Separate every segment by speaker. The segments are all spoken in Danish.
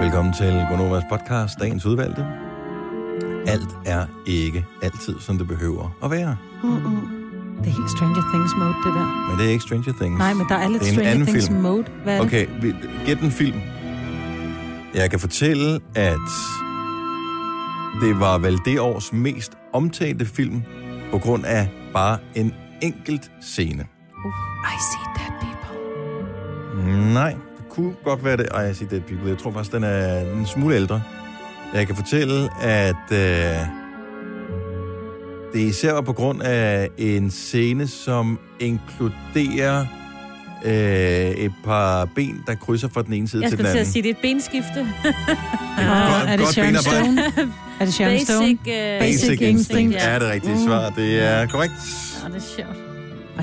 Speaker 1: Velkommen til Gonovas podcast, dagens udvalgte. Alt er ikke altid, som det behøver at være.
Speaker 2: Mm-mm. Det er helt Stranger Things mode, det der.
Speaker 1: Men det er ikke Stranger Things.
Speaker 2: Nej, men der er lidt
Speaker 1: Det er en
Speaker 2: Stranger
Speaker 1: anden
Speaker 2: Things
Speaker 1: film.
Speaker 2: mode. Hvad er det?
Speaker 1: Okay, vi- gæt en film. Jeg kan fortælle, at det var vel det års mest omtalte film, på grund af bare en enkelt scene.
Speaker 2: I see that people.
Speaker 1: Nej, det kunne godt være det. Ej, jeg siger Dead People. Jeg tror faktisk, den er en smule ældre. Jeg kan fortælle, at øh, det især var på grund af en scene, som inkluderer øh, et par ben, der krydser fra den ene side
Speaker 3: Jeg
Speaker 1: til den
Speaker 3: skulle til
Speaker 1: anden.
Speaker 3: at sige, det er et benskifte.
Speaker 1: Godt-
Speaker 2: Ah, er det
Speaker 1: godt
Speaker 2: Sharon
Speaker 1: benarbejde.
Speaker 2: Stone? er det Sharon Stone?
Speaker 3: Basic, uh,
Speaker 1: Basic,
Speaker 2: Basic
Speaker 1: Instinct
Speaker 2: Instinct.
Speaker 1: er det rigtige svar. Det er korrekt.
Speaker 3: Ja, det er sjovt.
Speaker 2: Og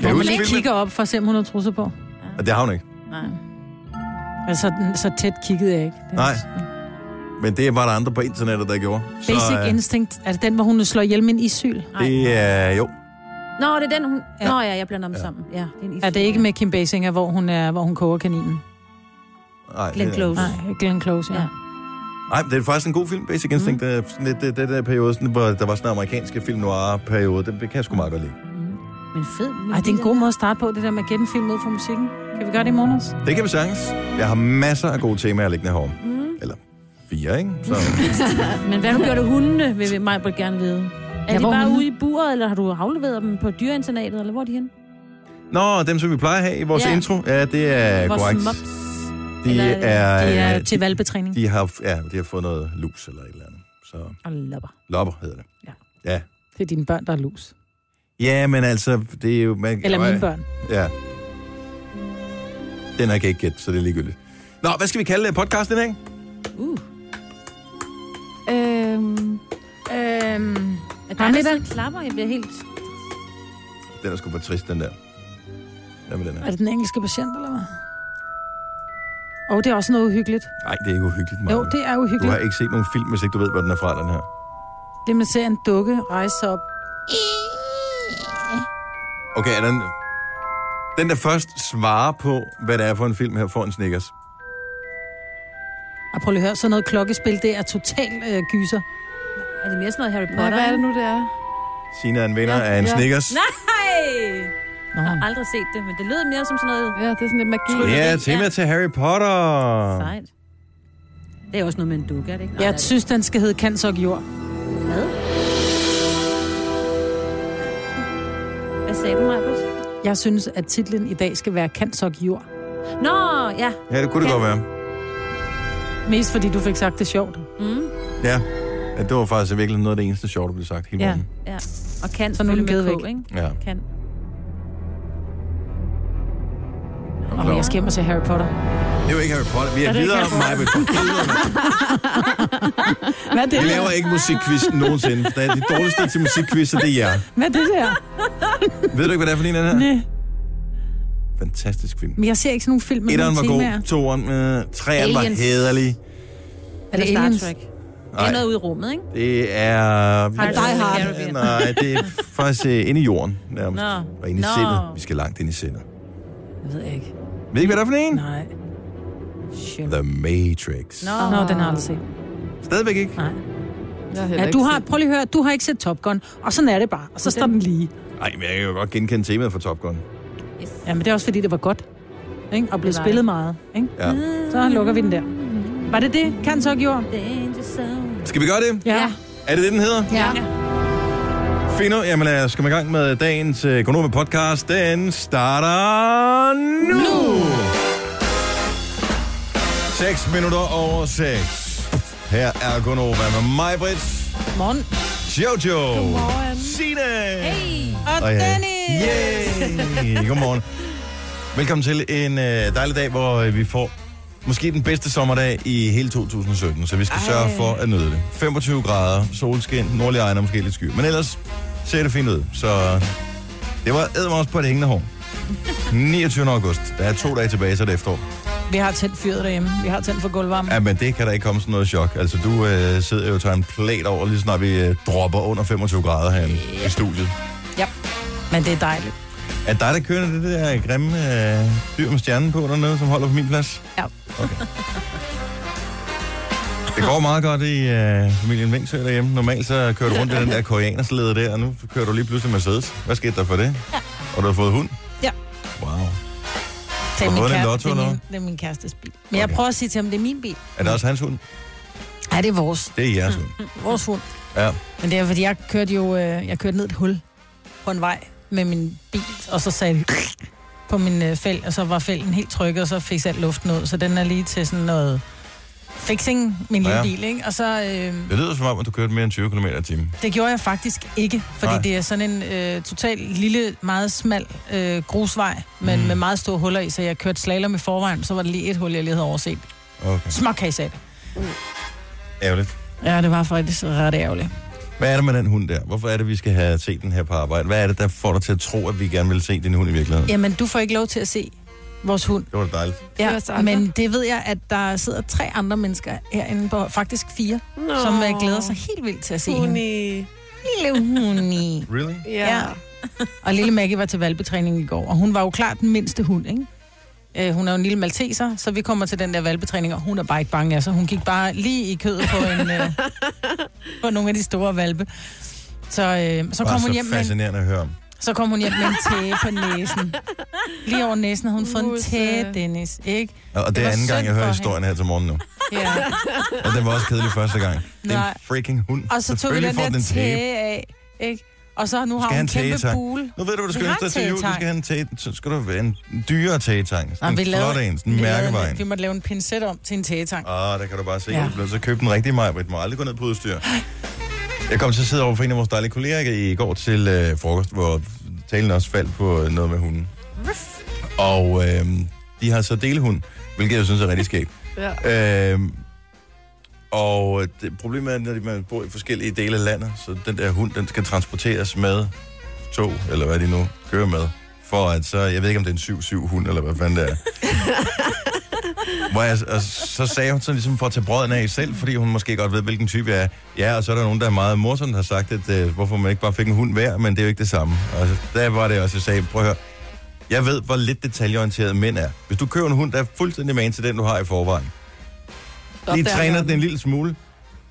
Speaker 1: Kan
Speaker 2: hvor
Speaker 1: du
Speaker 2: man
Speaker 1: huske
Speaker 2: ikke
Speaker 1: filmen?
Speaker 2: kigger op for at se, om hun har trusser på.
Speaker 1: Og det har hun ikke.
Speaker 3: Nej.
Speaker 2: Altså, den- så tæt kiggede jeg ikke. Det er-
Speaker 1: Nej. Men det var der andre på internettet, der gjorde.
Speaker 2: Basic
Speaker 1: øh,
Speaker 2: Instinct, er det den, hvor hun slår ihjel med en isyl?
Speaker 1: Det er jo.
Speaker 3: Nå, det er den, hun...
Speaker 2: Ja.
Speaker 3: Nå ja, jeg blander dem
Speaker 1: Ja.
Speaker 3: sammen. Ja, det er, en
Speaker 2: Er det
Speaker 3: is-
Speaker 2: ikke med Kim Basinger, hvor hun, er, hvor hun koger kaninen?
Speaker 1: Nej,
Speaker 3: Glenn
Speaker 1: det er-
Speaker 3: Close.
Speaker 2: Nej, Glenn Close, ja.
Speaker 3: Ja.
Speaker 2: ja.
Speaker 1: Nej, men det er faktisk en god film, Basic Instinct. Mm. Det, er sådan lidt, det, det der periode, sådan, hvor der var sådan en amerikanske film noir-periode, det, det kan jeg sgu meget godt lide.
Speaker 3: Mm. Men fed.
Speaker 2: Ej, det er en god måde at starte på, det der med at gætte en film ud fra musikken. Kan vi gøre det i morgen også?
Speaker 1: Det kan vi sagtens. Jeg har masser af gode temaer liggende herovre. Mm. Eller fire, ikke? Så,
Speaker 3: Men hvad har du gjort af hundene, vil mig Britt gerne vide. Er
Speaker 2: Ja,
Speaker 3: ja, de
Speaker 2: hvor
Speaker 3: bare
Speaker 2: hunde?
Speaker 3: ude i buret, eller har du afleveret dem på dyreinternattet, eller hvor er de henne?
Speaker 1: nå, dem som vi plejer at have i vores
Speaker 3: Ja.
Speaker 1: yeah. intro, ja, det er
Speaker 3: Vores
Speaker 1: korrekt.
Speaker 3: mops.
Speaker 1: De
Speaker 3: eller-
Speaker 1: er,
Speaker 2: Det er
Speaker 1: de,
Speaker 2: til valgbetræning.
Speaker 1: de, har, ja, de har fået noget lus eller et eller andet. Så
Speaker 3: Og lopper.
Speaker 1: lopper hedder det.
Speaker 2: Det er dine børn, der er lus.
Speaker 1: Ja, men altså, det er jo... Man,
Speaker 2: Eller
Speaker 1: Øj,
Speaker 2: mine børn.
Speaker 1: Ja. Den har jeg ikke gætte, så det er ligegyldigt. Nå, hvad skal vi kalde øh, podcasten i dag?
Speaker 3: Uh.
Speaker 2: Øhm, øhm,
Speaker 3: Er
Speaker 2: Har
Speaker 3: der, der
Speaker 2: vi
Speaker 3: sådan en klapper? Jeg bliver helt...
Speaker 1: Den er sgu for trist, den der. Hvad med den her?
Speaker 2: er det den engelske patient, eller hvad? Og det er også noget uhyggeligt.
Speaker 1: Nej, det er ikke uhyggeligt, Maja.
Speaker 2: Jo, det er
Speaker 1: Du har
Speaker 2: uhyggeligt.
Speaker 1: ikke set nogen film, hvis ikke du ved, hvor den er fra, den her.
Speaker 2: Det er, man ser en dukke rejse sig op.
Speaker 1: Okay, er den... Den, der først svarer på, hvad det er for en film her, får en Snickers.
Speaker 2: Og Ah, prøv lige at høre, sådan noget klokkespil, det er totalt øh, gyser.
Speaker 3: Er det mere sådan noget Harry
Speaker 4: Nej,
Speaker 3: Potter?
Speaker 4: hvad er det nu, det er?
Speaker 1: Sina er en vinder af en
Speaker 4: ja.
Speaker 1: Snickers.
Speaker 3: Nej!
Speaker 2: Nå.
Speaker 3: Jeg har aldrig set det, men det lød mere som sådan noget
Speaker 4: Ja, det er sådan lidt magi.
Speaker 3: Tryk.
Speaker 1: Ja,
Speaker 3: Ja.
Speaker 1: tema til Harry Potter.
Speaker 3: sejt. Det er også noget med en dukke, er det ikke?
Speaker 2: Jeg
Speaker 3: det er
Speaker 2: synes, den skal hedde Kansok Jord.
Speaker 3: det. Hvad? Hvad sagde du, Marcus?
Speaker 2: Jeg synes, at titlen i dag skal være Kansok Jord.
Speaker 3: Nå, ja.
Speaker 1: Ja, det kunne det
Speaker 3: Ja.
Speaker 1: godt være.
Speaker 2: Mest fordi du fik sagt det sjovt.
Speaker 3: Mm.
Speaker 1: Ja. ja. det var faktisk virkelig noget af det eneste sjovt, der blev sagt hele
Speaker 2: Ja.
Speaker 1: morgenen.
Speaker 3: Ja, og
Speaker 2: Så nu
Speaker 3: kan
Speaker 2: er
Speaker 3: selvfølgelig
Speaker 2: den givet
Speaker 3: med K,
Speaker 2: væk.
Speaker 3: ikke?
Speaker 1: Ja.
Speaker 3: Kan.
Speaker 1: Kom,
Speaker 2: Og jeg skal hjem og se Harry Potter.
Speaker 1: Det er jo ikke Harry Potter. Vi er, videre, Maja.
Speaker 2: Hvad er det
Speaker 1: Vi
Speaker 2: der?
Speaker 1: laver ikke musikquiz nogensinde. Det er de dårligste til musikquiz, det er jer.
Speaker 2: Hvad er det der?
Speaker 1: Ved du ikke, hvad det er for en af den her?
Speaker 2: Næ.
Speaker 1: Fantastisk film.
Speaker 2: Men jeg ser ikke sådan nogle film med
Speaker 1: Etteren
Speaker 2: nogle
Speaker 1: var
Speaker 2: temaer.
Speaker 1: god, toeren, øh, treeren var
Speaker 3: Aliens.
Speaker 1: hederlig.
Speaker 2: Er det
Speaker 3: Eller
Speaker 2: Aliens?
Speaker 3: Star Trek? Det
Speaker 1: Nej.
Speaker 3: er noget ude i rummet, ikke?
Speaker 1: Det er...
Speaker 2: Die Hard.
Speaker 1: Ja, Nej, det er faktisk øh, inde i jorden nærmest.
Speaker 3: Nå.
Speaker 1: Og inde i
Speaker 3: Nå.
Speaker 1: sindet. Vi skal langt ind i sindet.
Speaker 2: Jeg ved ikke.
Speaker 1: Ved I ikke, hvad der er for en?
Speaker 2: Nej.
Speaker 3: Shit.
Speaker 1: The Matrix.
Speaker 3: Nå.
Speaker 2: Nå, den har jeg aldrig set.
Speaker 1: Stadigvæk ikke?
Speaker 2: Nej.
Speaker 4: Jeg har heller
Speaker 2: Ja,
Speaker 4: ikke
Speaker 2: du har,
Speaker 4: set
Speaker 2: prøv lige at høre, du har ikke set Top Gun, og sådan er det bare. Og så står den lige.
Speaker 1: Nej, men jeg kan jo godt genkende temaet fra Top Gun.
Speaker 2: Ja, men det er også fordi, det var godt. Ikke? Og blev
Speaker 3: Det var
Speaker 2: spillet
Speaker 3: det.
Speaker 2: meget. Ikke?
Speaker 1: Ja.
Speaker 3: Mm.
Speaker 2: Så lukker vi den der. Var det det, Kan så gjorde?
Speaker 3: Danger zone.
Speaker 1: Skal vi gøre det?
Speaker 2: Ja.
Speaker 1: Er det det, den hedder?
Speaker 4: Ja.
Speaker 1: Finder, jamen lad os komme i gang med dagens øh, Gonova podcast. Den starter nu! nu! 6 minutter over 6. Her er Gonova med mig, Brits,
Speaker 2: Morgen.
Speaker 1: Jojo, Sine
Speaker 2: Og
Speaker 1: og øh, jeg.
Speaker 2: Dennis!
Speaker 1: Yay! Godmorgen. Velkommen til en øh, dejlig dag, hvor øh, vi får måske den bedste sommerdag i hele 2017, så vi skal Ej. sørge for at nyde det. 25 grader, solskin, nordlige ejner, måske lidt sky, men ellers ser det fint ud. Så det var eddermame også på et hængende hår. 29. august. Der er to dage tilbage, så er det efterår.
Speaker 2: Vi har tændt fyret derhjemme. Vi har tændt for gulvvarmen.
Speaker 1: Ja, men det kan der ikke komme sådan noget chok. Altså, du øh, sidder jo og tager en plæt over, lige så snart vi øh, dropper under 25 grader herinde i studiet.
Speaker 2: Ja. Men det er dejligt.
Speaker 1: Er det dig, der kører det der grimme øh, dyr med stjernen på dernede, som holder på min plads?
Speaker 2: Ja.
Speaker 1: Okay. Det går meget godt i øh, familien Vingsø derhjemme. Normalt så kører du rundt i den der koreanerslede der, og nu kører du lige pludselig Mercedes. Hvad skete der for det? Og du har fået hund?
Speaker 2: Ja.
Speaker 1: Wow.
Speaker 2: Det er,
Speaker 1: Har du
Speaker 2: min
Speaker 1: vundet en
Speaker 2: kæreste,
Speaker 1: lotto,
Speaker 2: det, er
Speaker 1: eller
Speaker 2: min, det er min kærestes bil. Men jeg
Speaker 1: Okay.
Speaker 2: prøver at sige til ham, det er min bil.
Speaker 1: Er det også hans hund?
Speaker 2: Ja, det er vores.
Speaker 1: Det er jeres hund.
Speaker 2: Vores hund.
Speaker 1: Ja.
Speaker 2: Men det er, fordi jeg kørte jo øh, jeg kørte ned et hul på en vej med min bil, og så sagde det på min øh, fæld, og så var fælden helt tryg, og så fik alt luften ud, så den er lige til sådan noget fixing, min lille
Speaker 1: Ja.
Speaker 2: ja. bil, ikke? Og så, øh,
Speaker 1: Det lyder som om, at du kørte mere end 20 km i timen.
Speaker 2: det gjorde jeg faktisk ikke, fordi
Speaker 1: Nej.
Speaker 2: Nej. det er sådan en øh, total lille, meget smal øh, grusvej, men
Speaker 1: Mm.
Speaker 2: mm. med meget store huller i, så jeg kørte slalom i forvejen, så var der lige et hul, jeg lige havde overset.
Speaker 1: Okay.
Speaker 2: Småkage af det.
Speaker 1: Ærgerligt.
Speaker 2: Ja, det var faktisk ret ærgerligt.
Speaker 1: Hvad er det med den hund der? Hvorfor er det, vi skal have set den her på arbejde? Hvad er det, der får dig til at tro, at vi gerne vil se din hund i virkeligheden?
Speaker 2: Jamen, du får ikke lov til at se vores hund.
Speaker 1: Det var da dejligt.
Speaker 4: Det er
Speaker 2: Ja,
Speaker 4: os andre.
Speaker 2: men det ved jeg, at der sidder tre andre mennesker herinde, på, faktisk fire,
Speaker 4: Nå.
Speaker 2: oh. som øh, glæder sig helt vildt til at se hende.
Speaker 4: Pony.
Speaker 2: Lille huni.
Speaker 1: Really?
Speaker 4: Ja.
Speaker 2: Ja. Og lille Maggie var til valbetræning i går, og hun var jo klart den mindste hund, ikke? Øh, hun er jo en lille malteser, så vi kommer til den der valbetræning, og hun er bare ikke bange, altså. Hun gik bare lige i kødet på, en, øh, på nogle af de store valpe. Så, øh, så kom
Speaker 1: Bare
Speaker 2: hun
Speaker 1: så
Speaker 2: hjem med en
Speaker 1: fascinerende at høre om.
Speaker 2: Så kom hun hjem med en tæge på næsen. Lige over næsen havde hun fået en
Speaker 4: Musse.
Speaker 2: tæge, Dennis, ikke?
Speaker 1: Og og det
Speaker 2: Det
Speaker 1: er
Speaker 2: var
Speaker 1: anden gang,
Speaker 2: synd
Speaker 1: jeg hører
Speaker 2: for
Speaker 1: historien her til morgen nu.
Speaker 2: Ja.
Speaker 1: Og den var også kedelig første gang. Det er en
Speaker 2: Nej.
Speaker 1: freaking hund.
Speaker 2: Og så tog vi
Speaker 1: Selvfølgelig
Speaker 2: den
Speaker 1: får
Speaker 2: der
Speaker 1: den tæve.
Speaker 2: tæge af, ikke? Og så nu
Speaker 1: Skal
Speaker 2: har hun
Speaker 1: have en
Speaker 2: en kæmpe
Speaker 1: tægetang.
Speaker 2: bule.
Speaker 1: Nu ved du, hvad du skal
Speaker 2: Vi har
Speaker 1: ønske dig
Speaker 2: en
Speaker 1: til jul. Du skal
Speaker 2: tagetang.
Speaker 1: have en tæ... Så skal du have en dyrere tægetang. Sådan
Speaker 2: Nej,
Speaker 1: en
Speaker 2: Ah, vi lavede-
Speaker 1: flot en, sådan
Speaker 2: Vi
Speaker 1: en
Speaker 2: lavede
Speaker 1: mærkevej.
Speaker 2: en- Vi måtte lave en pincet om til en tægetang.
Speaker 1: Ah, der kan du bare se.
Speaker 2: Ja.
Speaker 1: Ja. Så køb den rigtige mig, Britt. Må aldrig gå ned på udstyr. Jeg kom til at sidde over for en af vores dejlige kolleger i går til øh, frokost, hvor talen også faldt på øh, noget med hunden. Og øh, de har så delehund, hvilket jeg synes er rigtig skægt.
Speaker 4: ja.
Speaker 1: Øh, og øh, det, problemet er, at man bor i forskellige dele af landet, så den der hund, den skal transporteres med tog, eller hvad de nu kører med, for at så, jeg ved ikke, om det er en 7-7-hund, eller hvad fanden det er. Hvor jeg, og så sagde hun sådan ligesom for at tage brøden af selv, fordi hun måske godt ved, hvilken type jeg er. Ja, og så er der nogen, der er meget morsomt, der har sagt, at øh, hvorfor man ikke bare fik en hund hver, men det er jo ikke det samme. Og så- der var det også, jeg sagde, prøv at høre, jeg ved, hvor lidt detaljeorienteret mænd er. Hvis du køber en hund, der er fuldstændig man til den, du har i forvejen,
Speaker 4: Stop
Speaker 1: lige
Speaker 4: der,
Speaker 1: træner
Speaker 4: Jørgen.
Speaker 1: den en lille smule,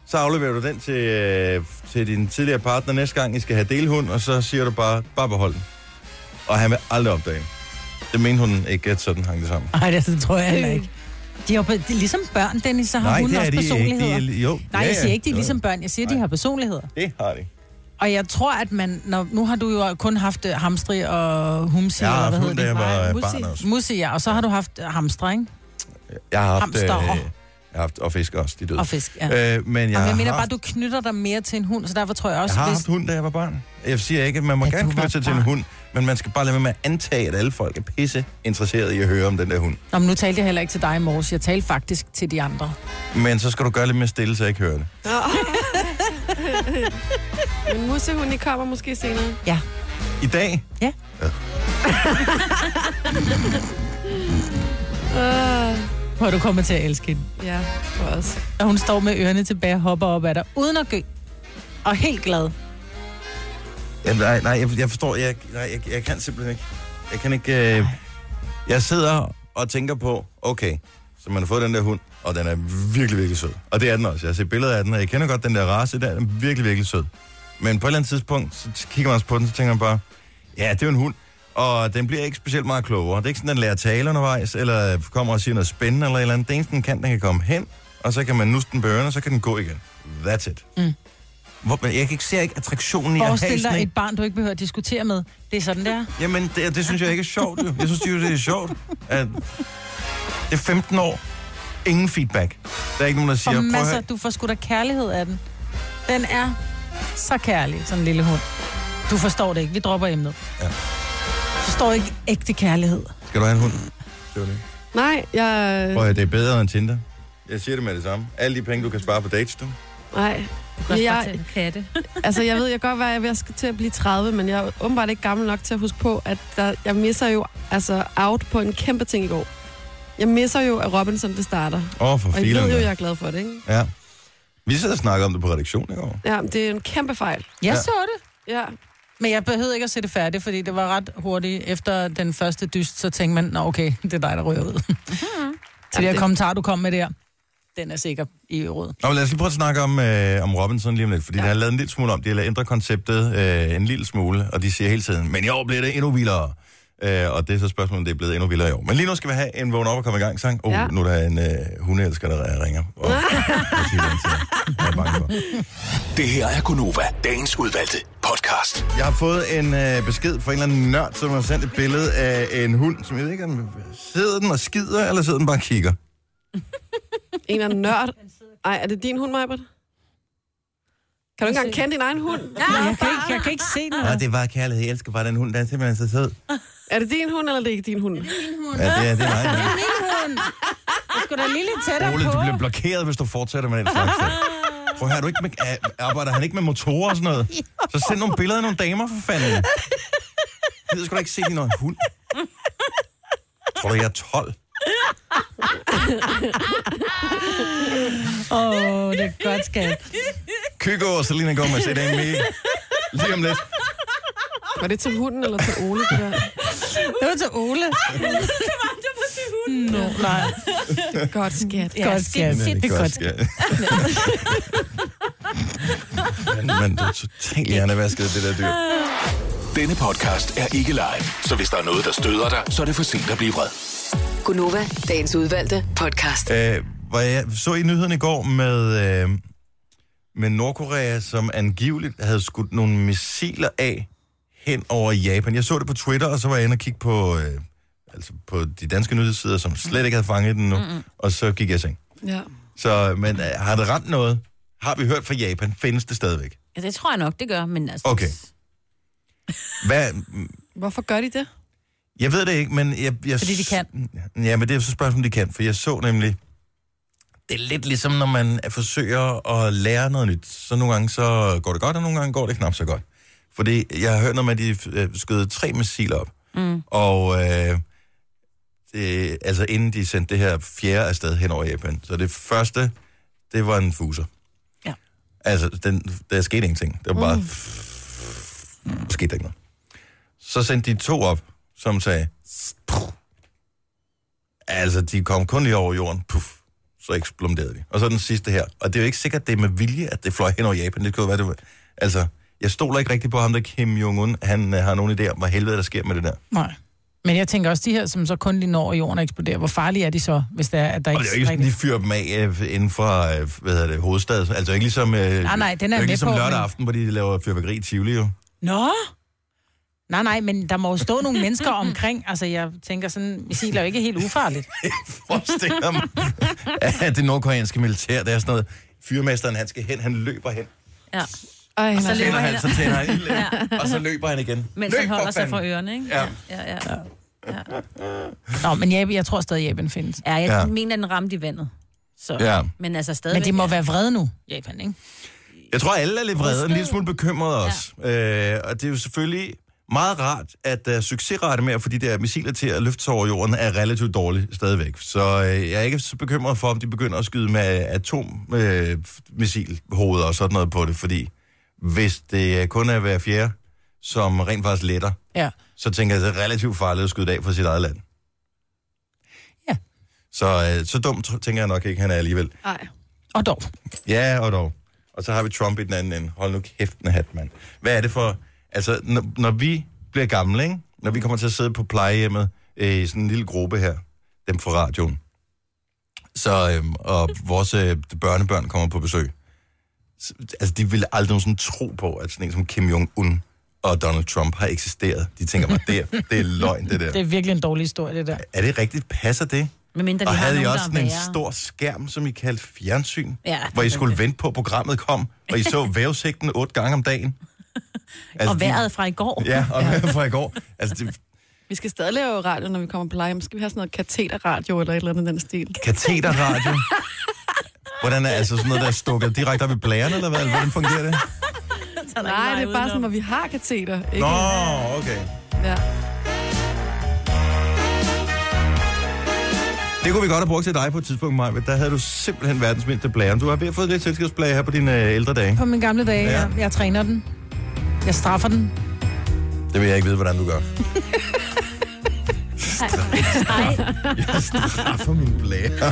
Speaker 1: så afleverer du den til, øh, til din tidligere partner næste gang, I skal have delhund, og så siger du bare, bare behold den. Og han vil aldrig opdage den. Det mente hun ikke, at sådan hang det sammen.
Speaker 2: Nej, det, det tror jeg heller ikke. De har, de, ligesom børn, Dennis, så har
Speaker 1: Nej,
Speaker 2: hun
Speaker 1: det er
Speaker 2: også
Speaker 1: de ikke.
Speaker 2: personligheder.
Speaker 1: De er, jo,
Speaker 2: Nej,
Speaker 1: ja,
Speaker 2: jeg siger
Speaker 1: ja.
Speaker 2: ikke, de er
Speaker 1: Jo,
Speaker 2: ligesom børn. Jeg siger, de
Speaker 1: Nej.
Speaker 2: har personligheder.
Speaker 1: Det har de.
Speaker 2: Og jeg tror, at man... Når, nu har du jo kun haft øh, hamstri og humsi,
Speaker 1: Jeg har
Speaker 2: eller
Speaker 1: haft
Speaker 2: hvad
Speaker 1: hund, da
Speaker 2: hedder
Speaker 1: jeg var
Speaker 2: det?
Speaker 4: Nej,
Speaker 1: øh,
Speaker 4: Musi.
Speaker 1: barn også.
Speaker 2: Mussi, ja. Og så har du haft øh, hamstre, ikke?
Speaker 1: Jeg har haft, øh, jeg
Speaker 2: Hamsterer.
Speaker 1: har haft og fisk også, de døde.
Speaker 2: Og fisk, ja.
Speaker 1: Øh, men jeg,
Speaker 2: Jeg, jeg
Speaker 1: har
Speaker 2: mener bare,
Speaker 1: haft,
Speaker 2: du knytter dig mere til en hund, så derfor tror jeg
Speaker 1: jeg
Speaker 2: også,
Speaker 1: har
Speaker 2: hvis...
Speaker 1: haft hund, da jeg var barn. Jeg siger ikke, at man må
Speaker 2: Ja,
Speaker 1: gerne
Speaker 2: du var
Speaker 1: knytte sig til en
Speaker 2: barn.
Speaker 1: hund, men man skal bare lade være med at antage, at alle folk er pisse interesserede i at høre om den der hund.
Speaker 2: Nå, men nu talte jeg heller ikke til dig i morges. Jeg talte faktisk til de andre.
Speaker 1: Men så skal du gøre lidt mere stille, så jeg ikke hører det.
Speaker 4: Nå. Men Musse, hun I kommer måske senere.
Speaker 2: Ja.
Speaker 1: I dag?
Speaker 2: Ja.
Speaker 4: Uh,
Speaker 2: Hvor er du kommer til at elske hende.
Speaker 4: ja, for os.
Speaker 2: Og hun står med ørerne tilbage og hopper op ad dig, uden at gø. Og helt glad.
Speaker 1: Jamen, nej, nej, jeg, jeg forstår, jeg, nej, jeg, jeg kan simpelthen ikke. Jeg kan ikke... Øh, jeg sidder og tænker på, okay, så man har fået den der hund, og den er virkelig, virkelig sød. Og det er den også. Jeg har set billeder af den, og jeg kender godt den der race der, den er virkelig, virkelig sød. Men på et eller andet tidspunkt, så t- kigger man også på den, så tænker man bare, ja, det er jo en hund, og den bliver ikke specielt meget klogere. Det er ikke sådan, den lærer at tale undervejs, eller kommer og siger noget spændende eller et eller andet. Det eneste, den kan, den kan komme hen, og så kan man nusse den på ørerne, og så kan den gå igen. That's it.
Speaker 2: Mm.
Speaker 1: Hvor, men jeg kan ikke se ikke attraktionen i at have
Speaker 2: Forestil
Speaker 1: sådan
Speaker 2: dig
Speaker 1: en-
Speaker 2: et barn, du ikke behøver at diskutere med. Det er sådan, der.
Speaker 1: Jamen, det, det synes jeg ikke er sjovt. jo. Jeg synes jo, det er sjovt. At det er 15 år. Ingen feedback. Der er ikke nogen, der siger,
Speaker 2: For
Speaker 1: prøv at
Speaker 2: masser,
Speaker 1: høre,
Speaker 2: du får sgu da kærlighed af den. Den er så kærlig, sådan en lille hund. Du forstår det ikke. Vi dropper emnet.
Speaker 1: Ja.
Speaker 2: Forstår ikke ægte kærlighed.
Speaker 1: skal du have en hund? Det var det.
Speaker 4: Øh. Nej, jeg...
Speaker 1: Prøv at høre, det er bedre end Tinder. Jeg siger det med det samme. Alle de penge, du kan spare på dates, du.
Speaker 4: Nej.
Speaker 3: Du kan også bare tage
Speaker 4: Jeg,
Speaker 3: en katte.
Speaker 4: altså, jeg ved jeg godt, hvad jeg, jeg skal til at blive 30, men jeg er åbenbart ikke gammel nok til at huske på, at der, jeg misser jo altså out på en kæmpe ting i går. Jeg misser jo, at Robinson det starter.
Speaker 1: Åh, oh, for
Speaker 4: Og jeg
Speaker 1: filen.
Speaker 4: ved jo, jeg
Speaker 1: da.
Speaker 4: er glad for det, ikke?
Speaker 1: Ja. Vi sidder og snakker om det på redaktion i går.
Speaker 4: Ja, men det er en kæmpe fejl.
Speaker 2: Jeg
Speaker 1: Ja.
Speaker 2: ja. så det.
Speaker 4: Ja.
Speaker 2: Men jeg behøvede ikke at se det færdigt, fordi det var ret hurtigt. Efter den
Speaker 1: Mhm.
Speaker 2: første dyst, så tænkte man, Nå, okay, det er dig, der ryger ud. Til det
Speaker 4: Jamen,
Speaker 2: her
Speaker 4: det-
Speaker 2: kommentar, du kom med der. Den er sikker i råd.
Speaker 1: Nå, men lad os lige prøve at snakke om, øh, om Robinson lige om lidt, fordi ja.
Speaker 2: Ja.
Speaker 1: de har lavet en lille smule om. De har lavet- ændret konceptet øh, en lille smule, og de siger hele tiden, men i år bliver det endnu vildere. Øh, og det er så spørgsmålet, om det er blevet endnu vildere i år. Men lige nu skal vi have en vågn op og komme i gang sang. Oh, ja.
Speaker 4: Ja.
Speaker 1: nu er der en øh, hundeelsker, der ringer. Og, og siger, hvad han siger. jeg er bange for.
Speaker 5: Det her er Gunova, dagens udvalgte podcast.
Speaker 1: Jeg har fået en øh, besked fra en eller anden nørd, som har sendt et billede af en hund, som jeg ved ikke, om sidder den og skider, eller sidder den bare og kigger?
Speaker 4: En eller anden nørd. Ej, er det din hund, Majbert? Kan du ikke engang kende din egen hund?
Speaker 2: Men jeg kan ikke, jeg kan ikke se noget.
Speaker 1: Ah, det er bare kærlighed. Jeg elsker bare den hund, den er simpelthen så sød.
Speaker 4: Er det din hund, eller er det ikke din hund?
Speaker 1: Ja, det er, det er meget.
Speaker 2: Min hund. Jeg skulle da lige lidt tættere
Speaker 1: Ole, du
Speaker 2: på.
Speaker 1: bliver blokeret, hvis du fortsætter med den slags ting. Prøv at høre, er du ikke med, er- arbejder han ikke med motorer og sådan noget? Så send nogle billeder af nogle damer, for fanden. Jeg gider sgu da ikke se din hund. Tror du, jeg er 12?
Speaker 2: Åh, oh, det er godt, skat.
Speaker 1: Kygo og Selena Gomez, et af mig. Lige om lidt.
Speaker 4: Var det til hunden, eller til Ole? Det der?
Speaker 2: Det var til Ole. det var til hunden. Nå, nej.
Speaker 4: Godt skat.
Speaker 2: Ja, godt,
Speaker 1: øh,
Speaker 2: skat. Det er godt, skat.
Speaker 1: Men, men du er totalt hjernevasket, det der dyr.
Speaker 5: Denne podcast er ikke live, så hvis der er noget, der støder dig, så er det for sent at blive vred.
Speaker 6: Gunova, dagens udvalgte podcast.
Speaker 1: Øh, hvor jeg så i nyhederne i går med, øh, med Nordkorea, som angiveligt havde skudt nogle missiler af hen over Japan. Jeg så det på Twitter, og så var jeg inde og kigge på, øh, altså på de danske nyhedssider, som slet ikke havde fanget den nu, Mm-mm. og så gik jeg i seng.
Speaker 4: Ja.
Speaker 1: Så, men øh, har det ramt noget? Har vi hørt fra Japan? Findes det stadigvæk?
Speaker 3: Ja, Altså, det tror jeg nok, det gør, men altså...
Speaker 1: Okay. Hvad,
Speaker 4: Hvorfor gør de det?
Speaker 1: Jeg ved det ikke, men jeg... jeg
Speaker 2: Fordi de kan.
Speaker 1: Ja, men det er så spørgsmålet, om de kan, for jeg så nemlig... Det er lidt ligesom, når man øh, forsøger at lære noget nyt. Så nogle gange så går det godt, og nogle gange går det knap så godt. Fordi jeg har hørt noget med, at de øh, skød tre missiler op. Mm. Og øh, det, altså inden de sendte det her fjerde afsted hen over Japan. Så det første, det var en fuser.
Speaker 2: Ja.
Speaker 1: Altså, den, der skete ingenting. Det var bare... Mm. skete der ikke noget. Så sendte de to op, som sagde... "Puh." Altså, de kom kun lige over jorden. Puff. Så eksploderede de. Og så den sidste her. Og det er jo ikke sikkert, det er med vilje, at det fløj hen over Japan. Det kunne jo være, det var... Altså, jeg stoler ikke rigtig på ham, der Kim Jong-un. Han øh, har nogen idé om, hvad helvede der sker med det der.
Speaker 2: Nej. Men jeg tænker også, de her, som så kun lige når jorden og eksploderer, hvor farlige er de så, hvis der er, at der
Speaker 1: Og
Speaker 2: ikke,
Speaker 1: det er jo ikke sådan, de
Speaker 2: rigtig-
Speaker 1: fyrer dem af øh, inden for, øh, hvad hedder det, hovedstaden. Altså ikke ligesom, øh,
Speaker 2: Nej, nej, den
Speaker 1: det
Speaker 2: er
Speaker 1: er ikke
Speaker 2: jeg med
Speaker 1: ligesom
Speaker 2: på.
Speaker 1: lørdag
Speaker 2: men-
Speaker 1: aften, fordi de laver fyrværkeri i Tivoli jo.
Speaker 2: Nå! Nej, nej, men der må jo stå nogle mennesker omkring. Altså, jeg tænker sådan, missiler er jo ikke helt ufarligt.
Speaker 1: Forestiller mig, at det nordkoreanske militær, det er sådan noget, fyrmesteren, han skal hen, han løber hen.
Speaker 3: Ja.
Speaker 4: Ej,
Speaker 3: Og så
Speaker 4: nej.
Speaker 1: Tænder
Speaker 3: løber
Speaker 1: han,
Speaker 3: han,
Speaker 1: så tænder han ilden, og så løber han igen.
Speaker 3: mens
Speaker 1: Løb
Speaker 3: han
Speaker 1: for
Speaker 3: holder sig
Speaker 1: fanden.
Speaker 3: fra ørerne, ikke?
Speaker 1: Ja.
Speaker 3: ja, ja.
Speaker 2: Nå, men jeg, jeg tror stadig, Japan findes.
Speaker 3: ja jeg
Speaker 1: Ja.
Speaker 3: ja. mener, den ramte i vandet. Så.
Speaker 1: Ja.
Speaker 3: Men altså stadigvæk...
Speaker 2: Men de må
Speaker 3: ja.
Speaker 2: være vrede nu, Japan, ikke?
Speaker 1: Jeg tror, alle er lidt vrede, og en lille smule bekymrede også. Øh, og det er jo selvfølgelig meget rart, at uh, succesrate med at få de der missiler til at løfte sig over jorden er relativt dårlig stadigvæk. Så øh, jeg er ikke så bekymret for, om de begynder at skyde med atommissilhoveder og sådan noget på det, fordi hvis det kun er hver fjerde, som rent faktisk letter,
Speaker 2: Ja.
Speaker 1: så tænker jeg, at det er relativt farligt at skyde det af for sit eget land.
Speaker 2: Ja.
Speaker 1: Så, øh, så dumt tr- tænker jeg nok ikke, han er alligevel.
Speaker 4: Ej.
Speaker 2: Og dog.
Speaker 1: Ja, og dog. Og så har vi Trump i den anden ende. Hold nu kæft, en hat, mand. Hvad er det for... Altså, når, når vi bliver gamle, ikke? Når vi kommer til at sidde på plejehjemmet øh, i sådan en lille gruppe her, dem fra radioen, så, øhm, og vores øh, børnebørn kommer på besøg. Så, altså, de ville aldrig nogensinde tro på, at sådan en som Kim Jong-un og Donald Trump har eksisteret. De tænker bare, det er, det er løgn, det der.
Speaker 2: Det er virkelig en dårlig historie, det der.
Speaker 1: Er det rigtigt? Passer det?
Speaker 3: Men mindre, de
Speaker 1: Og
Speaker 3: har
Speaker 1: havde I
Speaker 3: nogen,
Speaker 1: også
Speaker 3: der
Speaker 1: sådan
Speaker 3: er
Speaker 1: en
Speaker 3: værre.
Speaker 1: stor skærm, som I kaldte fjernsyn,
Speaker 3: Ja,
Speaker 1: hvor I
Speaker 3: det
Speaker 1: skulle
Speaker 3: er
Speaker 1: vente på, at programmet kom, og I så vævesigten otte gange om dagen. Altså,
Speaker 3: Og vejret fra i går.
Speaker 1: De, ja, og vejret fra i går. Altså, det,
Speaker 4: Vi skal stadig lave radio, når vi kommer på live. Skal vi have sådan noget kateterradio eller et eller andet i den stil?
Speaker 1: kateterradio. Hvordan er altså sådan noget, der er stukket direkte op i blæren, eller hvad? Eller Hvordan fungerer det?
Speaker 3: Så er der
Speaker 4: Nej,
Speaker 3: ikke
Speaker 4: det er bare
Speaker 3: meget
Speaker 4: sådan, hvor
Speaker 3: udenom.
Speaker 4: vi har kateter. Ikke?
Speaker 1: Nå, okay.
Speaker 4: Ja.
Speaker 1: Det kunne vi godt have brugt til dig på et tidspunkt, Maja. Der havde du simpelthen verdens mindste blæren. Du har ved at få lidt selskabsblære her på dine øh, ældre dage.
Speaker 2: På mine gamle dage,
Speaker 1: Ja.
Speaker 2: ja. jeg, jeg træner den. Jeg straffer den.
Speaker 1: Det vil jeg ikke vide, hvordan du gør. Jeg straffer min blære.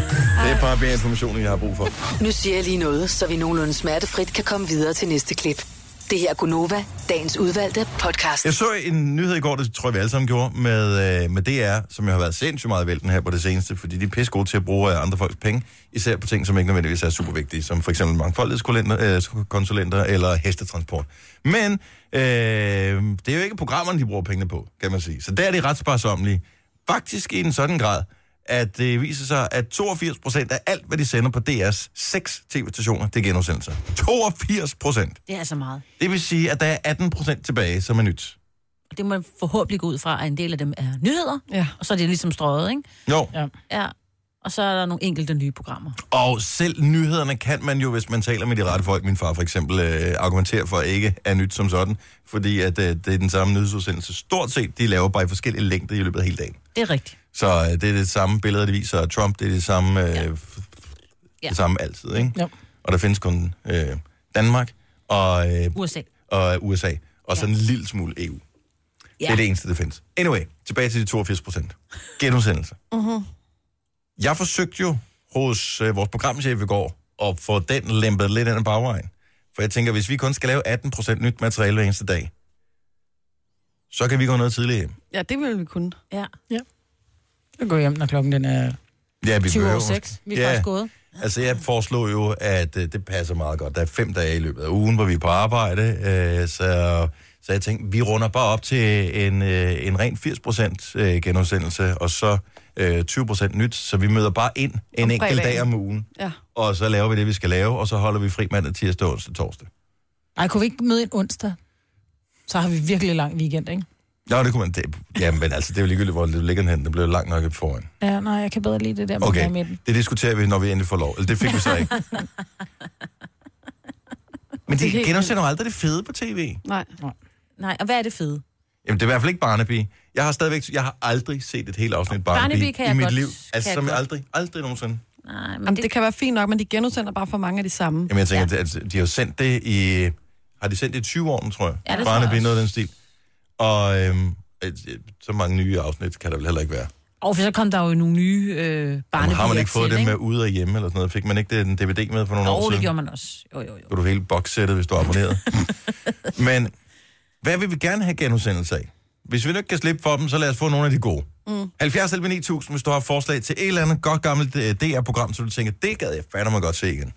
Speaker 1: Det er bare mere information, end jeg har brug for.
Speaker 6: Nu siger jeg lige noget, så vi nogenlunde smertefrit kan komme videre til næste klip. Det her er Gunova, dagens udvalgte podcast.
Speaker 1: Jeg så en nyhed i går, det tror jeg, vi alle sammen gjorde, med, øh, med DR, som jo har været sindssygt meget vælten her på det seneste, fordi de er pisse gode til at bruge øh, andre folks penge, især på ting, som ikke nødvendigvis er super vigtige, som for eksempel mangfoldighedskonsulenter øh, konsulenter eller hestetransport. Men øh, det er jo ikke programmerne, de bruger pengene på, kan man sige. Så der er de ret sparsomlige. Faktisk i en sådan grad, at det viser sig, at 82 procent af alt, hvad de sender på DR's seks tv-stationer, det er genudsendelser. 82 procent!
Speaker 3: Det er altså meget.
Speaker 1: Det vil sige, at der er 18 procent tilbage, som er nyt.
Speaker 3: Og det må man forhåbentlig gå ud fra, at en del af dem er nyheder,
Speaker 2: Ja.
Speaker 3: og så er det ligesom strøget, ikke?
Speaker 1: Jo,
Speaker 2: Ja.
Speaker 3: Ja. Og så er der nogle enkelte nye programmer.
Speaker 1: og selv nyhederne kan man jo, hvis man taler med de rette folk, min far for eksempel, øh, argumenterer for at ikke er nyt som sådan, fordi at øh, det er den samme nyhedsudsendelse. Stort set, de laver bare i forskellige længder i løbet af hele dagen.
Speaker 3: Det er rigtigt.
Speaker 1: Så øh, det er det samme billede, det viser af Trump, det er det samme, øh, f-
Speaker 3: Ja.
Speaker 1: det samme altid, ikke?
Speaker 2: Jo.
Speaker 1: Og der findes kun øh, Danmark og, øh,
Speaker 3: USA.
Speaker 1: og USA, og så en lille smule E EU. Ja. Det er det eneste, der findes. Anyway, tilbage til de 82 procent. Genudsendelse. Uh-huh.
Speaker 2: Mm-hmm.
Speaker 1: Jeg forsøgte jo hos øh, vores programchef i går at få den lempet lidt ind ad bagvejen. For jeg tænker, hvis vi kun skal lave 18 procent nyt materiale hver eneste dag, så kan vi gå noget tidligere hjem.
Speaker 4: Ja, det ville vi kunne.
Speaker 3: Ja.
Speaker 2: Jeg går hjem, når klokken den er
Speaker 1: Ja, vi
Speaker 2: 20
Speaker 1: behøver
Speaker 2: over
Speaker 1: måske-
Speaker 2: 6. Vi er
Speaker 1: Ja.
Speaker 2: faktisk gået.
Speaker 1: Altså, jeg foreslår jo, at øh, det passer meget godt. Der er fem dage i løbet af ugen, hvor vi er på arbejde, øh, så, så jeg tænkte, vi runder bare op til en, øh, en ren 80% øh, genudsendelse, og så øh, 20% nyt, så vi møder bare ind en
Speaker 4: Om
Speaker 1: enkelt
Speaker 4: fredagen.
Speaker 1: dag om ugen,
Speaker 4: Ja.
Speaker 1: og så laver vi det, vi skal lave, og så holder vi fri mandag, tirsdag, onsdag, torsdag.
Speaker 2: Ej, kunne vi ikke møde en onsdag? Så har vi virkelig lang weekend, ikke?
Speaker 1: Nå, det kunne man... Det, jamen, men altså, det er jo ligegyldigt, hvor det ligger den hen. Det blev langt nok foran.
Speaker 2: Ja, nej, jeg kan bedre lide det der med
Speaker 1: Okay,
Speaker 2: okay. midten.
Speaker 1: det diskuterer vi, når vi endelig får lov. Eller det fik vi så ikke. Men de
Speaker 4: er helt
Speaker 1: genudsender jo aldrig det fede på tv.
Speaker 4: Nej.
Speaker 3: Nej, og hvad er det fede?
Speaker 1: Jamen, det er i hvert fald ikke Barnaby. Jeg har stadigvæk, jeg har aldrig set et helt afsnit Barnaby,
Speaker 3: Barnaby kan jeg
Speaker 1: i mit
Speaker 3: godt-
Speaker 1: liv.
Speaker 3: kan
Speaker 1: Altså,
Speaker 3: jeg
Speaker 1: som jeg
Speaker 3: godt.
Speaker 1: aldrig, aldrig nogensinde.
Speaker 3: Nej, men
Speaker 4: Jamen,
Speaker 3: det,
Speaker 4: det kan være fint nok, men de genudsender bare for mange af de samme.
Speaker 1: Jamen, jeg tænker, ja. at de har sendt det i... Har de sendt det i 20 år, tror jeg?
Speaker 3: Ja, det tror jeg
Speaker 1: Barnaby,
Speaker 3: også.
Speaker 1: noget af den stil. Og øhm, øh, så mange nye afsnit kan der vel heller ikke være.
Speaker 3: Og for så kom der jo nogle nye øh,
Speaker 1: Jamen,
Speaker 3: barnebier
Speaker 1: har man ikke fået
Speaker 3: til,
Speaker 1: det med ude og hjemme eller sådan noget? Fik man ikke det, en DVD med for nogle år
Speaker 3: Jo,
Speaker 1: siden?
Speaker 3: det gjorde man også. Jo, jo, jo.
Speaker 1: Så er du hele bokssættet, hvis du er abonneret. Men hvad vil vi gerne have genudsendelse af? Hvis vi nu ikke kan slippe for dem, så lad os få nogle af de gode. Mm. 70 11 9000, hvis du har forslag til et eller andet godt gammelt øh, DR-program, så du tænker, det gad jeg fandme godt se igen.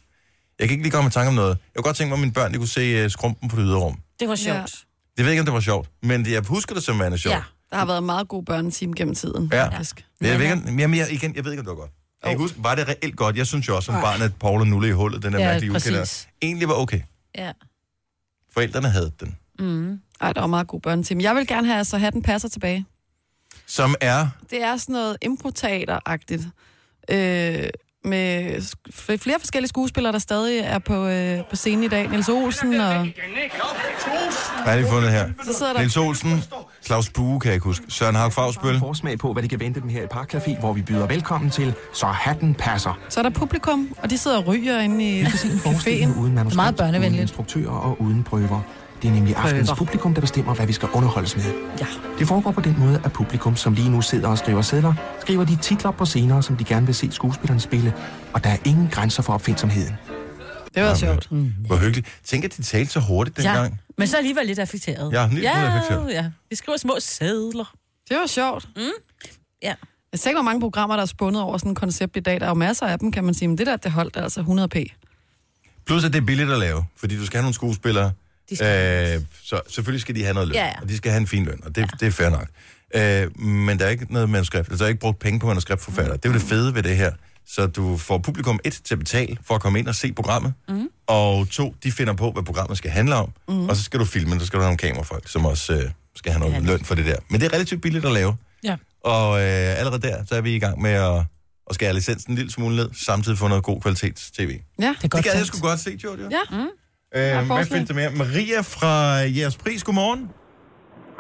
Speaker 1: Jeg kan ikke lige komme i tanke om noget. Jeg kunne godt tænke mig, at mine børn de kunne se uh, skrumpen på det ydre rum.
Speaker 3: Det var
Speaker 4: Ja.
Speaker 3: sjovt.
Speaker 1: Jeg ved ikke, om det var sjovt, men jeg husker det som værende sjovt.
Speaker 3: Ja.
Speaker 4: Der har været meget god børneteam gennem tiden.
Speaker 1: Ja.
Speaker 4: faktisk.
Speaker 1: Jeg ved ikke, om- jamen, jeg, igen, jeg ved ikke, om det var godt. Jeg kan ikke huske, var det reelt godt? Jeg synes jo også som barn, at Paul og Nulle i hullet, den der
Speaker 2: Ja,
Speaker 1: mærkelige ukalder,
Speaker 2: præcis.
Speaker 1: egentlig var okay.
Speaker 3: ja.
Speaker 1: Forældrene havde den.
Speaker 4: Ej, der var meget god børneteam. Jeg vil gerne have, altså, have den passer tilbage.
Speaker 1: Som er
Speaker 4: Det er sådan noget improteater-agtigt. Øh, med sk- flere forskellige skuespillere, der stadig er på, øh, på scenen i dag. Niels Olsen og...
Speaker 1: Hvad har de fundet her?
Speaker 4: Så sidder der-
Speaker 1: Niels Olsen, Claus Bue, kan jeg ikke huske. Søren Haug Fagsbøl.
Speaker 7: forsmag på, hvad det kan vente dem her i Parkcafé, hvor vi byder velkommen til Så Hatten Passer.
Speaker 4: Så er der publikum, og de sidder og ryger inde i buffeten.
Speaker 7: Uden manuskript,
Speaker 2: Meget børnevenligt.
Speaker 7: uden instruktører og uden prøver. Det er nemlig aftens
Speaker 3: Prøver.
Speaker 7: publikum, der bestemmer, hvad vi skal underholdes med.
Speaker 3: ja.
Speaker 7: Det foregår på den måde, at publikum, som lige nu sidder og skriver sædler, skriver de titler på scener, som de gerne vil se skuespillerne spille, og der er ingen grænser for opfindsomheden.
Speaker 4: Det var sjovt.
Speaker 1: Hvor hyggeligt. Tænk, at de talte så hurtigt dengang.
Speaker 3: ja. Men så alligevel lidt affekteret.
Speaker 1: Ja, en lille smule
Speaker 3: ja,
Speaker 1: affekteret.
Speaker 3: ja. Vi skriver små sædler.
Speaker 4: Det var sjovt.
Speaker 3: Ja.
Speaker 4: Jeg ser ikke, hvor mange programmer, der er spundet over sådan et koncept i dag. Der er jo masser af dem, kan man sige. Men det der, det holdt altså 100p.
Speaker 1: Plus, at det er billigt at lave, fordi du skal have nogle skuespillere.
Speaker 3: De skal have
Speaker 1: øh, så selvfølgelig skal de have noget løn,
Speaker 3: Ja, ja.
Speaker 1: og de skal have en fin løn, og det, ja. det er fair nok. Øh, men der er ikke noget manuskript, altså der er ikke brugt penge på manuskriptforfatter. Det er jo det fede ved det her. Så du får publikum et til at betale for at komme ind og se programmet,
Speaker 3: Mhm.
Speaker 1: mm. og to, de finder på, hvad programmet skal handle om, mm. og så skal du filme, så skal du have nogle kamerafolk, som også øh, skal have noget
Speaker 3: Ja.
Speaker 1: løn for det der. Men det er relativt billigt at lave.
Speaker 2: Ja.
Speaker 1: Og øh, allerede der, så er vi i gang med at, at skære licensen en lille smule ned, samtidig få noget god kvalitets-tv.
Speaker 4: Ja.
Speaker 2: Det er
Speaker 1: Det
Speaker 2: godt
Speaker 1: gad jeg
Speaker 2: tænkt.
Speaker 1: sgu godt se, Jojo.
Speaker 4: Ja.
Speaker 1: Øh, hvad
Speaker 4: forslag.
Speaker 1: findes der mere? Maria fra Jeres Pris, godmorgen.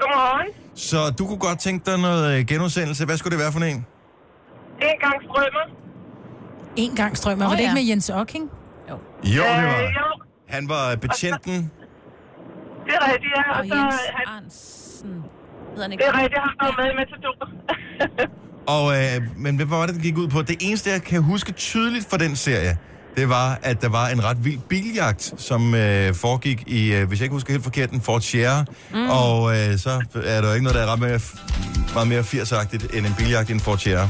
Speaker 8: Godmorgen.
Speaker 1: Så du kunne godt tænke dig noget øh, genudsendelse. Hvad skulle det være for en?
Speaker 8: Det er gang strømmer.
Speaker 2: En gang strømmer.
Speaker 3: Åh,
Speaker 2: Var det ikke
Speaker 3: ja.
Speaker 2: med Jens Ocking?
Speaker 1: Jo,
Speaker 8: Øh, jo,
Speaker 1: Han var øh, betjenten.
Speaker 8: det er rigtigt, ja. Og
Speaker 3: Og
Speaker 8: så, øh,
Speaker 3: Jens
Speaker 8: han,
Speaker 3: Arnsen. Hedder han
Speaker 8: det
Speaker 3: ikke?
Speaker 8: er rigtigt, han var med i Matador.
Speaker 1: Og, øh, men hvad var det, den gik ud på? Det eneste, jeg kan huske tydeligt fra den serie, det var, at der var en ret vild biljagt, som øh, foregik i, øh, hvis jeg ikke husker helt forkert, en Ford Sierra. Mm. Og øh, så er der jo ikke noget, der er ret mere, meget mere 80-agtigt end en biljagt i en Ford Sierra.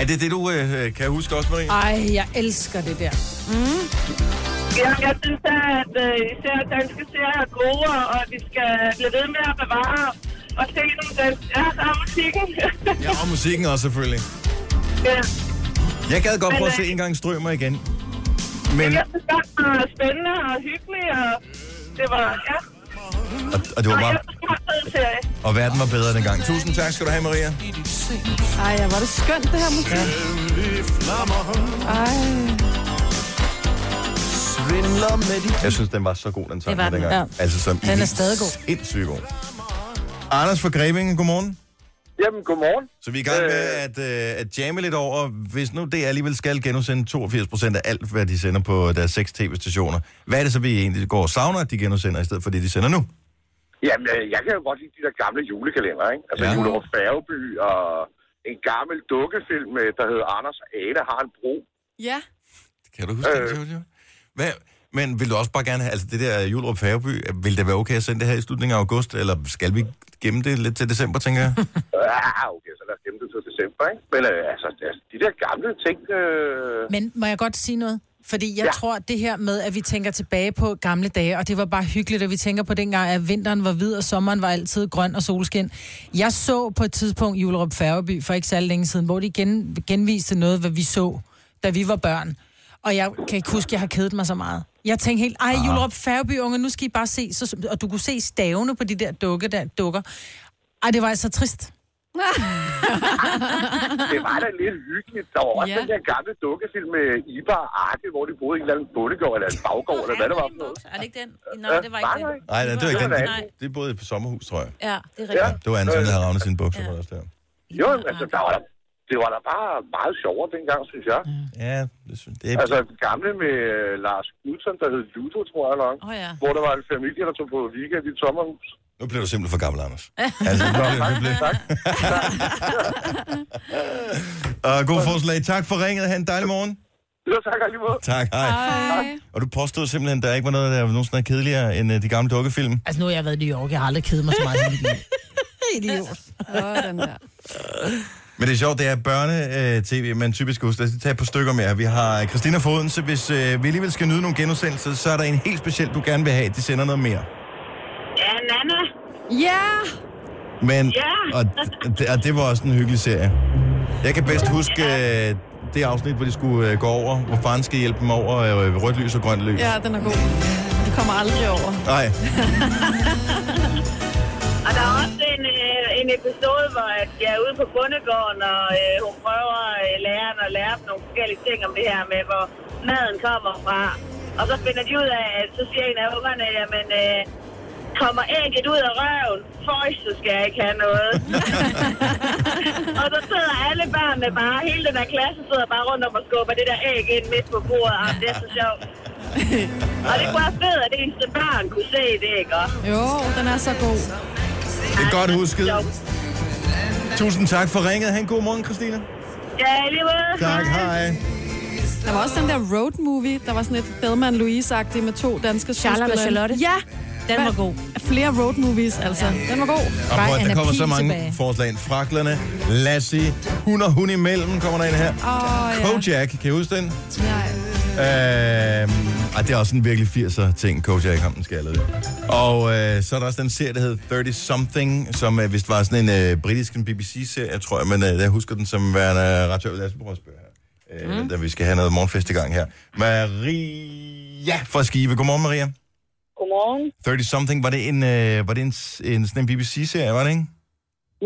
Speaker 1: er det det, du øh, kan huske også, Marie?
Speaker 2: Ej, jeg elsker det der.
Speaker 8: Ja, jeg synes da, at øh, især danske serier er gode, og- og at vi skal blive ved med at bevare og se nogle danske... Ja, der er musikken.
Speaker 1: Ja, og musikken også selvfølgelig.
Speaker 8: ja.
Speaker 1: Jeg gad godt
Speaker 8: Men,
Speaker 1: prøve at
Speaker 8: øh,
Speaker 1: se en gang strømmer igen.
Speaker 8: Men...
Speaker 1: Men,
Speaker 8: Jeg synes godt, det var spændende og hyggeligt, og det var... Ja,
Speaker 1: og, og det var
Speaker 8: og jeg
Speaker 1: bare,
Speaker 8: synes, det var en fed serie.
Speaker 1: og verden var bedre dengang. Tusind tak skal du have, Maria.
Speaker 4: Ej, ja, var det skønt, det her musik. Ej.
Speaker 1: Jeg synes, den var så god, den sang
Speaker 3: Det var
Speaker 1: fra
Speaker 3: den,
Speaker 1: dengang.
Speaker 2: ja.
Speaker 1: Altså, som
Speaker 2: Den er stadig god.
Speaker 1: Sindssygt god. Anders fra Grebingen, godmorgen.
Speaker 9: Jamen, godmorgen.
Speaker 1: Så vi er i gang med at, øh, at jamme lidt over, hvis nu det alligevel skal genudsende 82 procent af alt, hvad de sender på deres seks tv-stationer. Hvad er det så, vi egentlig går og savner, at de genudsender, i stedet for det, de sender nu?
Speaker 9: Jamen, øh, jeg kan jo godt lide de der gamle julekalender, ikke? Altså,
Speaker 1: Ja.
Speaker 9: ja. Julerup Færgeby og en gammel dukkefilm, øh, der hedder Anders og Ane har en bro.
Speaker 4: Ja.
Speaker 1: Kan du huske øh. det, Jojo? Hvad? Men vil du også bare gerne have, altså det der Julrup Færgeby, vil det være okay at sende det her i slutningen af august, eller skal vi gemme det lidt til december, tænker jeg?
Speaker 9: Ja, okay, så lad os gemme det til december, ikke? Men øh, altså, altså, de der gamle ting... Øh...
Speaker 2: Men må jeg godt sige noget? Fordi jeg ja.
Speaker 9: Ja.
Speaker 2: tror, at det her med, at vi tænker tilbage på gamle dage, og det var bare hyggeligt, at vi tænker på dengang, at vinteren var hvid, og sommeren var altid grøn og solskin. Jeg så på et tidspunkt Julerup Færgeby for ikke særlig længe siden, hvor de gen, genviste noget, hvad vi så, da vi var børn. Og jeg kan ikke huske, at jeg har kedet mig så meget. Jeg tænkte helt, ej, Julerup Færgeby, unge, nu skal I bare se. Så, og du kunne se stavene på de der dukke, der dukker. Ej, det var altså trist.
Speaker 9: det var da lidt hyggeligt. Der var også
Speaker 4: Ja.
Speaker 9: ja. den der gamle dukkefilm med Ibar og Arke, hvor de boede i en eller anden bondegård eller en baggård, eller hvad det var. for noget.
Speaker 3: Er det ikke den? Nej, det var
Speaker 9: Nej,
Speaker 3: ikke
Speaker 9: nej.
Speaker 3: den.
Speaker 1: Nej, nej, det var ikke den.
Speaker 9: Nej.
Speaker 1: Det- Det er både på sommerhus, tror jeg.
Speaker 3: Ja, det
Speaker 9: Ja.
Speaker 3: er
Speaker 9: Øh.
Speaker 3: rigtigt.
Speaker 1: Det var Anton, der havde ravnet sine bukser på
Speaker 3: Ja.
Speaker 1: os der.
Speaker 9: Jo, men altså, der var der, det var da bare meget sjovere dengang, synes jeg.
Speaker 1: Ja, det synes det er...
Speaker 9: Altså, den gamle med øh, Lars Knudsen, der hed Ludo, tror jeg nok.
Speaker 3: Åh, ja.
Speaker 9: Hvor der var en familie, der tog på weekend i et sommerhus.
Speaker 1: Nu bliver du simpelthen for gammel, Anders. Altså, nu bliver, nu bliver.
Speaker 9: Tak.
Speaker 1: Og god forslag. Tak for ringet. Ha' en dejlig morgen.
Speaker 9: Det var tak alligevel.
Speaker 1: Tak, hej.
Speaker 4: Ej.
Speaker 1: Og du påstod simpelthen, at der ikke var noget, der var nogensinde er kedeligere end øh, de gamle dukkefilm.
Speaker 2: Altså, nu har jeg været i New York, jeg har aldrig kedet mig så meget. i mit liv. Idiot.
Speaker 4: Åh, den der.
Speaker 1: Men det er sjovt, det er børne-tv, man typisk husker. Lad os lige tage et par stykker mere. Vi har Christina Foden, så hvis øh, vi alligevel skal nyde nogle genudsendelser, så er der en helt speciel, du gerne vil have. De sender noget mere.
Speaker 8: Ja, Nana.
Speaker 4: Ja!
Speaker 1: Men,
Speaker 8: Ja.
Speaker 1: og, det, og det var også en hyggelig serie. Jeg kan bedst huske øh, det afsnit, hvor de skulle øh, gå over, hvor faren skal hjælpe dem over øh, ved rødt lys og grønt lys.
Speaker 4: Ja, den er god. Det kommer aldrig over.
Speaker 1: Nej,
Speaker 8: Og der er også en, øh, en episode, hvor at jeg er ude på bondegården, og øh, hun prøver øh, læreren at lære dem nogle forskellige ting om det her med, hvor maden kommer fra. Og så finder de ud af, at så siger en af ungerne, jamen, øh, kommer ægget ud af røven, føj, så skal jeg ikke have noget. og så sidder alle børnene bare, hele den her klasse sidder bare rundt om og skubber det der æg ind midt på bordet, og det er så sjovt. og det kunne være fedt, at det eneste barn kunne se det, ikke? Og-
Speaker 4: Jo, den er så god.
Speaker 1: det er godt husket. Tusind tak for ringet. Ha' en god morgen, Christina.
Speaker 8: Ja, i lige måde.
Speaker 1: Tak, hej.
Speaker 4: Der var også den der road movie, der var sådan et Thelma Louise-agtig med to danske
Speaker 3: Charlotte og
Speaker 4: skuespillere.
Speaker 3: Charlotte.
Speaker 4: Ja,
Speaker 3: Den var god.
Speaker 4: flere road movies, altså. Den var god.
Speaker 1: Og prøv, at- der
Speaker 2: Anna
Speaker 1: kommer så
Speaker 2: Pihl
Speaker 1: mange
Speaker 2: tilbage.
Speaker 1: forslag. ind. Fraklerne, Lassie, hund og hund imellem kommer der ind her.
Speaker 4: Åh, ja.
Speaker 1: Kojak, kan I huske den?
Speaker 4: ja.
Speaker 1: Øh, ej, det er også en virkelig 80'er ting, Kojak ham den skaldede. Og øh, så er der også den serie, der hed 30 Something, som øh, vist var sådan en øh, britisk en BBC-serie, tror jeg, men øh, jeg husker den som værende øh, ret sjov. Lad os prøve at spørge her, øh, mm. da vi skal have noget morgenfest i gang her. Maria fra Skive. Godmorgen, Maria.
Speaker 8: Godmorgen.
Speaker 1: 30 Something, var det en, øh, var det en, s- en, sådan en BBC-serie, var det ikke?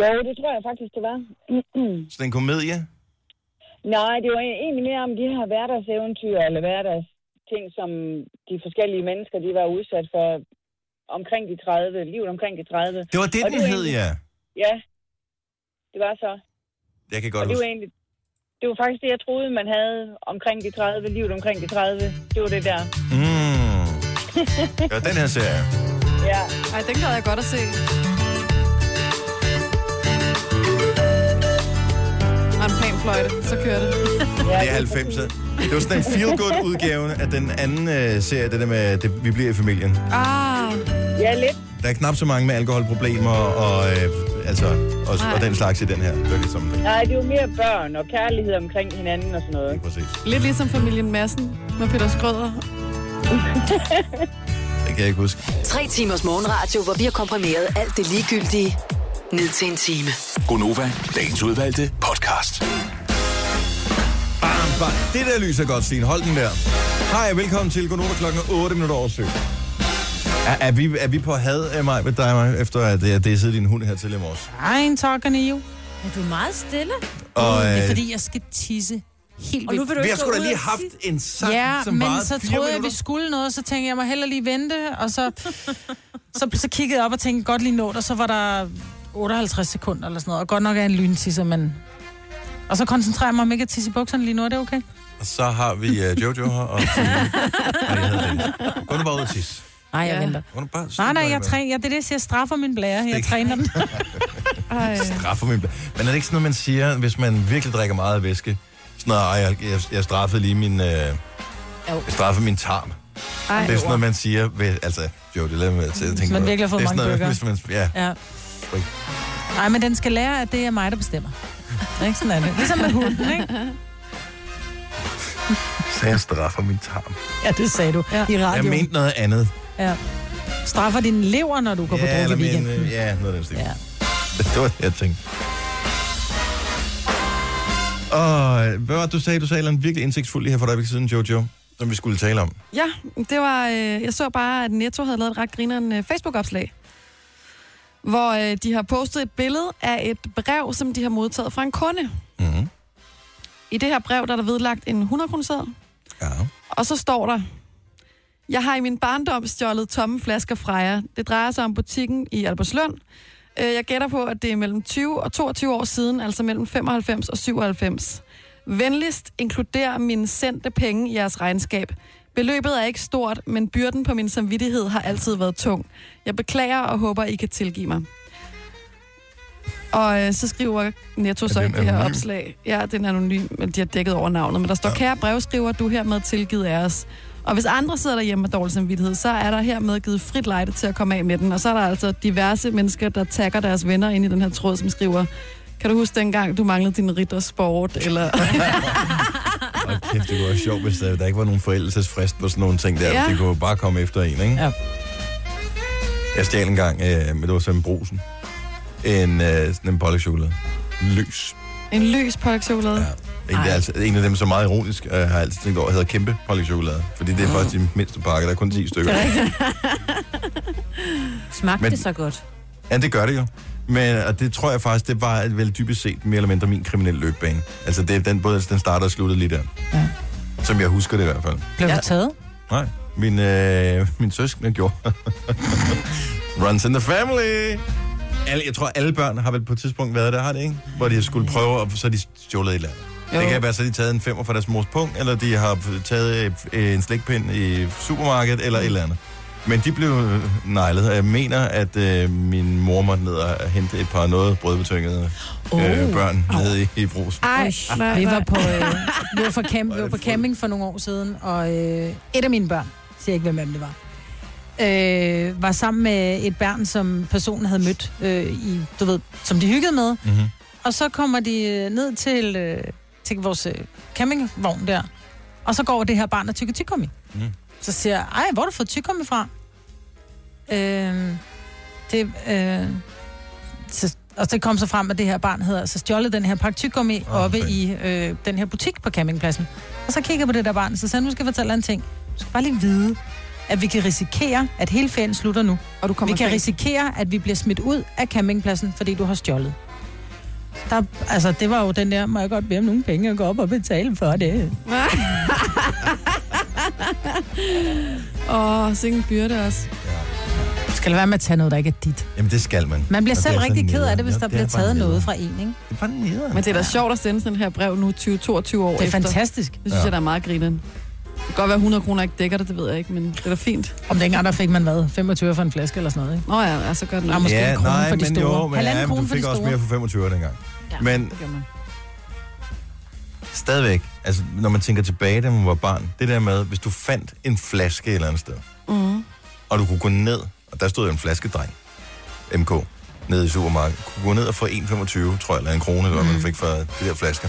Speaker 8: Jo, det tror jeg faktisk, det var.
Speaker 1: Sådan en komedie?
Speaker 8: Nej, det var egentlig mere om de her hverdagseventyr, eller hverdags ting, som de forskellige mennesker, de var udsat for omkring de 30, livet omkring de 30.
Speaker 1: Det var det,
Speaker 8: Og
Speaker 1: den
Speaker 8: det var
Speaker 1: hed, ja.
Speaker 8: Ja, det var så.
Speaker 1: Jeg kan
Speaker 8: Og
Speaker 1: godt
Speaker 8: det var
Speaker 1: huske.
Speaker 8: egentlig, det var faktisk det, jeg troede, man havde omkring de 30, livet omkring de 30. Det var det der.
Speaker 1: Mm. Ja, den her serie.
Speaker 8: Ja.
Speaker 4: Ej, den gad jeg godt at se. panfløjte, så kører det.
Speaker 1: Det er 90'er. Det var sådan en feel-good-udgaven af den anden øh, serie, det der med, det, vi bliver i familien.
Speaker 4: Ah,
Speaker 8: Ja, lidt.
Speaker 1: Der er knap så mange med alkoholproblemer og, øh, altså, og, og den slags i den her. Det var ligesom det.
Speaker 8: Nej, det er jo mere børn og kærlighed omkring hinanden og sådan noget. ikke?
Speaker 1: Præcis.
Speaker 4: lidt ligesom familien Madsen med Peter Skrøder.
Speaker 1: Det kan jeg ikke huske.
Speaker 6: Tre timers morgenradio, hvor vi har komprimeret alt det ligegyldige ned til en time.
Speaker 5: Gonova, dagens udvalgte podcast.
Speaker 1: Bam, bam. Det der lys er godt, Stine. Hold den der. Hej, og velkommen til Gonova klokken 8 minutter over 7. Er, er, vi, er vi på had af mig med dig, Maja, efter at øh, jeg dissede din hund her til i morges?
Speaker 2: I'm talking to you.
Speaker 3: Men du er meget stille.
Speaker 1: Og,
Speaker 2: Mm, Det er
Speaker 1: øh,
Speaker 2: fordi, jeg skal tisse helt
Speaker 3: Og nu
Speaker 2: vildt.
Speaker 3: vil du
Speaker 1: vi
Speaker 3: ikke
Speaker 1: har sgu
Speaker 3: gå
Speaker 1: da
Speaker 3: ud
Speaker 1: lige
Speaker 3: og
Speaker 1: haft
Speaker 3: tisse.
Speaker 1: en sang,
Speaker 2: Ja,
Speaker 1: som
Speaker 2: men
Speaker 1: varede
Speaker 2: så
Speaker 1: fire
Speaker 2: troede jeg,
Speaker 1: minutter.
Speaker 2: vi skulle noget, så tænkte jeg, jeg må hellere lige vente, og så, så, så kiggede jeg op og tænkte, godt lige nå det, og så var der 58 sekunder eller sådan noget, og godt nok er jeg en lyntisser, men... Og så koncentrerer jeg mig om ikke at tisse i bukserne lige nu, er det okay?
Speaker 1: Og så har vi uh, Jojo her, og så... Ej, jeg havde det. Gå nu bare ud og tis.
Speaker 2: Nej, jeg
Speaker 4: Ja.
Speaker 2: ja. venter.
Speaker 1: Gå nu bare... stå
Speaker 2: Nej, nej,
Speaker 1: bare i
Speaker 2: jeg,
Speaker 1: vand.
Speaker 2: træ, jeg, det er det, jeg siger, jeg straffer min blære. Jeg
Speaker 1: Stik.
Speaker 2: træner den.
Speaker 4: Ej.
Speaker 1: straffer min bla- Men er det ikke sådan noget, man siger, hvis man virkelig drikker meget af væske? Sådan noget, "Ej, jeg, jeg, jeg straffede lige min... Øh, jeg straffede min tarm.
Speaker 4: Ej.
Speaker 1: Det er sådan noget, man siger ved... Altså, jo, det lader mig til at tænke
Speaker 2: man
Speaker 1: på.
Speaker 2: virkelig har fået
Speaker 1: Det er sådan
Speaker 2: mange
Speaker 1: noget,
Speaker 2: bøger.
Speaker 1: hvis man, ja.
Speaker 2: Ja. Nej, men den skal lære, at det er mig, der bestemmer. Ikke sådan er det. Ligesom med hunden, ikke?
Speaker 1: Så jeg straffer min tarm.
Speaker 2: Ja, det sagde du ja. i
Speaker 1: Jeg
Speaker 2: radioen.
Speaker 1: mente noget andet.
Speaker 2: Ja. Straffer din lever, når du går på druk i
Speaker 1: men,
Speaker 2: weekenden.
Speaker 1: øh, ja, noget af den stil.
Speaker 2: Ja.
Speaker 1: Det var det, jeg tænkte. Og hvad var det, du sagde? Du sagde en virkelig indsigtsfuld lige her for dig siden, Jojo, som vi skulle tale om.
Speaker 4: Ja, det var, øh, jeg så bare, at Netto havde lavet et ret grineren øh, Facebook-opslag, hvor øh, de har postet et billede af et brev, som de har modtaget fra en kunde.
Speaker 1: Mm-hmm.
Speaker 4: I det her brev, der er der vedlagt en 100 kroner
Speaker 1: Ja.
Speaker 4: Og så står der, jeg har i min barndom stjålet tomme flasker fra jer. Det drejer sig om butikken i Albertslund. Øh, Jeg gætter på, at det er mellem 20 og 22 år siden, altså mellem 95 og 97. Venligst inkluder mine sendte penge i jeres regnskab. Beløbet er ikke stort, men byrden på min samvittighed har altid været tung. Jeg beklager og håber, I kan tilgive mig. Og øh, så skriver Netto så
Speaker 1: Er
Speaker 4: i
Speaker 1: den
Speaker 4: det her
Speaker 1: anonym?
Speaker 4: opslag. Ja, den er anonym, men de har dækket over navnet. Men der står, kære brevskriver, du er hermed tilgivet af os. Og hvis andre sidder derhjemme med dårlig samvittighed, så er der hermed givet frit lejde til at komme af med den. Og så er der altså diverse mennesker, der takker deres venner ind i den her tråd, som skriver, kan du huske dengang, du manglede din riddersport? Eller...
Speaker 1: Og kæft, det kunne være sjovt, hvis der, der ikke var nogen forældelsesfrist på sådan nogle ting der. Ja.
Speaker 4: Ja.
Speaker 1: Det kunne jo bare komme efter en, ikke?
Speaker 2: Ja.
Speaker 1: Jeg stjal en gang, øh, men det var så en brusen. En, øh, sådan en pålægtschokolade. Løs.
Speaker 4: en løs pålægtschokolade.
Speaker 1: Ja. En, det er altså, en af dem, som er meget ironisk, øh, har jeg altid tænkt over, hedder kæmpe pålægtschokolade. Fordi det er faktisk de mindste pakke, der er kun 10 stykker.
Speaker 3: Smagte
Speaker 1: Men-
Speaker 3: det så godt?
Speaker 1: Ja, det gør det jo. Men og det tror jeg faktisk, det var vel dybest set mere eller mindre min kriminelle løbbane. Altså det, den, både den starter og sluttede lige der.
Speaker 2: Ja.
Speaker 1: Som jeg husker det i hvert fald.
Speaker 2: Blev du taget?
Speaker 1: Nej, min, øh, min søskende gjorde. Runs in the family! Alle, jeg tror, alle børn har vel på et tidspunkt været der, har det ikke? Hvor de har skulle prøve, og så har de stjålet et eller andet. Det kan være, så har de taget en femmer fra deres mors punkt, eller de har taget øh, en slikpind i supermarkedet, eller et eller andet. Men de blev øh, neglet, og jeg mener, at øh, min mor måtte ned og hente et par noget brødbetyngede øh,
Speaker 2: Oh.
Speaker 1: børn nede i, i brusen.
Speaker 4: Ej, nej,
Speaker 2: Vi
Speaker 4: nej.
Speaker 2: var på, øh, vi var for camp, vi var på camping for nogle år siden, og øh, et af mine børn, siger ikke, hvem af dem det var, øh, var sammen med et barn, som personen havde mødt, øh, i, du ved, som de hyggede med.
Speaker 1: Mhm.
Speaker 2: Og så kommer de øh, ned til, øh, til vores øh, campingvogn der, og så går det her barn og tykker tykkummi.
Speaker 1: Mm.
Speaker 2: Mm. Så siger jeg, ej, hvor har du fået tykkummi fra? Øh, det, øh, så, og det kom så frem, at det her barn havde altså stjålet den her pakke tyggegummi
Speaker 1: Åh,
Speaker 2: oh, oppe
Speaker 1: fedt.
Speaker 2: i øh, den her butik på campingpladsen. Og så kigger jeg på det der barn, så sagde han, nu skal jeg fortælle dig en ting. Du skal bare lige vide, at vi kan risikere, at hele ferien slutter nu.
Speaker 4: Og du kommer
Speaker 2: Vi kan
Speaker 4: fri.
Speaker 2: risikere, at vi bliver smidt ud af campingpladsen, fordi du har stjålet. Der, altså, det var jo den der, må jeg godt bede om nogle penge og gå op og betale for det.
Speaker 4: Åh, sikke en byrde også.
Speaker 2: Du skal lade være med at tage noget, der ikke er dit.
Speaker 1: Jamen, det skal man.
Speaker 2: Man bliver
Speaker 1: Og det
Speaker 2: selv
Speaker 1: er så
Speaker 2: rigtig ked af
Speaker 1: nederen.
Speaker 2: det, hvis
Speaker 1: Jo,
Speaker 2: der
Speaker 1: det
Speaker 2: bliver
Speaker 1: er bare
Speaker 2: taget noget
Speaker 1: nederen.
Speaker 2: fra en, ikke?
Speaker 1: Det er bare nederen.
Speaker 4: Men det er da sjovt at sende sådan her brev nu 20-22 år
Speaker 2: Det er
Speaker 4: efter.
Speaker 2: fantastisk.
Speaker 4: Det synes ja. jeg, der er meget grineren. Det kan godt være, at 100 kroner ikke dækker det, det ved jeg ikke, men det er da fint.
Speaker 2: Om dengang, der fik man hvad? 25 for en flaske eller sådan noget, ikke?
Speaker 4: Nå ja, ja, så gør den.
Speaker 2: Ja, måske en krone for de
Speaker 1: men
Speaker 2: store.
Speaker 1: Jo, men,
Speaker 2: Halvanden
Speaker 1: ja, men
Speaker 2: krone
Speaker 1: du
Speaker 2: for
Speaker 1: fik
Speaker 2: de
Speaker 1: også
Speaker 2: store.
Speaker 1: mere for 25 dengang. Ja. Men
Speaker 4: Det gør man.
Speaker 1: stadigvæk, altså når man tænker tilbage, da man var barn, det der med, hvis du fandt en flaske et eller andet sted,
Speaker 4: Mm.
Speaker 1: og du kunne gå ned, og der stod jo en flaskedreng, MK, nede i supermarkedet, kunne gå ned og få 1,25, tror jeg, eller en krone, eller hvad man fik for de der flasker.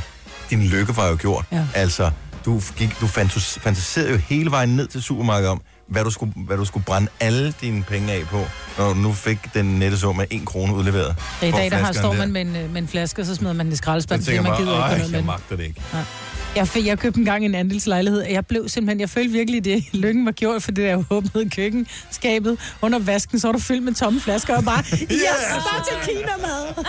Speaker 1: Din lykke var jo gjort.
Speaker 2: Mhm. Ja.
Speaker 1: Altså, du, gik, du fantas- fantaserede jo hele vejen ned til supermarkedet om, hvad du, skulle, hvad du skulle brænde alle dine penge af på, når du nu fik den nette sum af 1 krone udleveret.
Speaker 2: Ja, I
Speaker 1: Hvor
Speaker 2: dag der har,
Speaker 1: flaskerne
Speaker 2: står
Speaker 1: der.
Speaker 2: man med en, øh, med en flaske, og så smider man den i skraldespanden,
Speaker 1: Så
Speaker 2: fordi
Speaker 1: tænker
Speaker 2: man
Speaker 1: man,
Speaker 2: gider
Speaker 1: "Ej,
Speaker 2: ikke noget
Speaker 1: jeg
Speaker 2: med den.
Speaker 1: magter det ikke.
Speaker 2: Jeg, fik, jeg købte engang en andelslejlighed, og jeg blev simpelthen, jeg følte virkelig, det lykken var gjort for det der åbnede køkkenskabet. Under vasken, så var du fyldt med tomme flasker, og bare, yes, yes! bare til kinamad.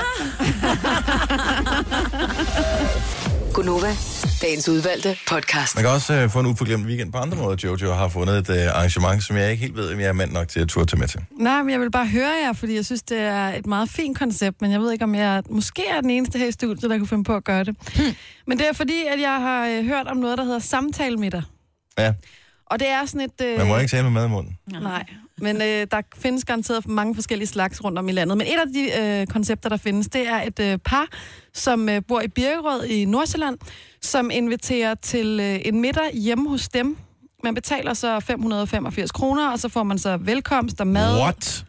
Speaker 6: Gunova, dagens udvalgte podcast.
Speaker 1: Man kan også øh, få en uforglemt weekend på andre måder. Jojo har fundet et øh, arrangement, som jeg ikke helt ved, om jeg er mand nok til at turde tage med til.
Speaker 4: Nej, men jeg vil bare høre jer, fordi jeg synes, det er et meget fint koncept, men jeg ved ikke, om jeg måske er den eneste her i studiet, der kunne finde på at gøre det. Hmm. Men det er fordi, at jeg har øh, hørt om noget, der hedder samtalemiddag.
Speaker 1: Ja,
Speaker 4: Og det er sådan et... Øh,
Speaker 1: man må ikke tale med mad i munden.
Speaker 4: Nej, men øh, der findes garanteret mange forskellige slags rundt om i landet. Men et af de øh, koncepter, der findes, det er et øh, par, som øh, bor i Birkerød i Nordsjælland, som inviterer til øh, en middag hjemme hos dem. Man betaler så 585 kroner, og så får man så velkomst og mad.
Speaker 1: What?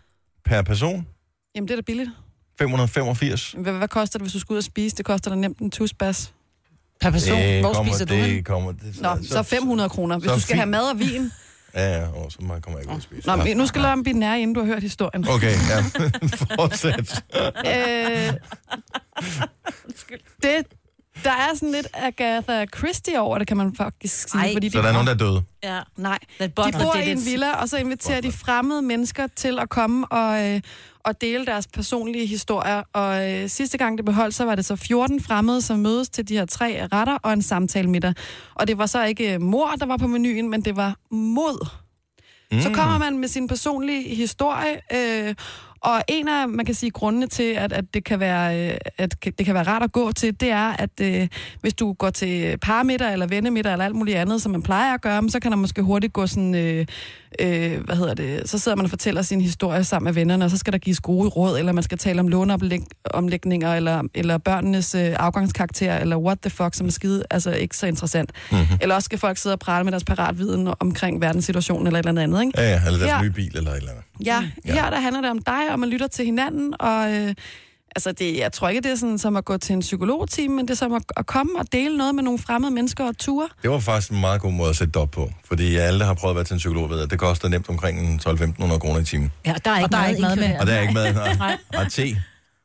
Speaker 1: Per person?
Speaker 4: Jamen, det er da billigt.
Speaker 1: 585?
Speaker 4: Hvad, hvad koster det, hvis du skal ud og spise? Det koster da nemt en tusbas.
Speaker 2: Per person,
Speaker 1: Det
Speaker 2: hvor
Speaker 1: kommer-
Speaker 2: spiser du
Speaker 1: det
Speaker 2: hen?
Speaker 1: Kommer, det,
Speaker 4: Nå, så, så 500 kroner, hvis
Speaker 1: så
Speaker 4: du skal
Speaker 1: fint.
Speaker 4: have mad og vin.
Speaker 1: Ja, ja, åh, så meget kommer jeg ikke ud at spise.
Speaker 4: Nå, men nu skal du lade mig blive nær, inden du har hørt historien.
Speaker 1: Okay, ja. Fortsæt.
Speaker 4: Øh, det, der er sådan lidt Agatha Christie over det, kan man faktisk sige.
Speaker 3: Ej.
Speaker 4: fordi
Speaker 1: Så der er nogen, der er døde.
Speaker 3: Ja.
Speaker 4: Nej,
Speaker 3: Den
Speaker 4: de
Speaker 3: botner
Speaker 4: bor
Speaker 3: det
Speaker 4: i en
Speaker 3: lidt.
Speaker 4: villa, og så inviterer de fremmede mennesker til at komme og, øh, og dele deres personlige historier. Og øh, sidste gang det beholdt, så var det så 14 fremmede, som mødes til de her tre retter og en samtale middag. Og det var så ikke øh, mor, der var på menuen, men det var mod. Mm. Så kommer man med sin personlige historie, øh, og en af, man kan sige, grundene til, at, at, det kan være, øh, at kan- det kan være rart at gå til, det er, at øh, hvis du går til parmiddag eller vennemiddag eller alt muligt andet, som man plejer at gøre, men så kan der måske hurtigt gå sådan, øh, øh, hvad hedder det, så sidder man og fortæller sin historie sammen med vennerne, og så skal der gives gode råd, eller man skal tale om låneomlægninger, eller, eller børnenes øh, afgangskarakter, eller what the fuck, som er skide, altså ikke så interessant. Mm-hmm. Eller også skal folk sidde og prale med deres paratviden omkring verdenssituationen eller et eller andet, ikke?
Speaker 1: Ja, ja, eller deres
Speaker 4: Ja.
Speaker 1: nye bil eller et eller andet.
Speaker 4: Ja, ja, her der handler det om dig, og man lytter til hinanden, og øh, altså det, jeg tror ikke, det er sådan som at gå til en psykologtime, men det er som at, at komme og dele noget med nogle fremmede mennesker og ture.
Speaker 1: Det var faktisk en meget god måde at sætte det op på. Fordi alle, der har prøvet at være til en psykolog, ved, at det koster nemt omkring en 12-1500 kroner i timen.
Speaker 3: ja, der er ikke,
Speaker 2: der er
Speaker 3: meget
Speaker 2: ikke mad med.
Speaker 3: inkluderet.
Speaker 1: Og der er ikke mad. Nej. Og te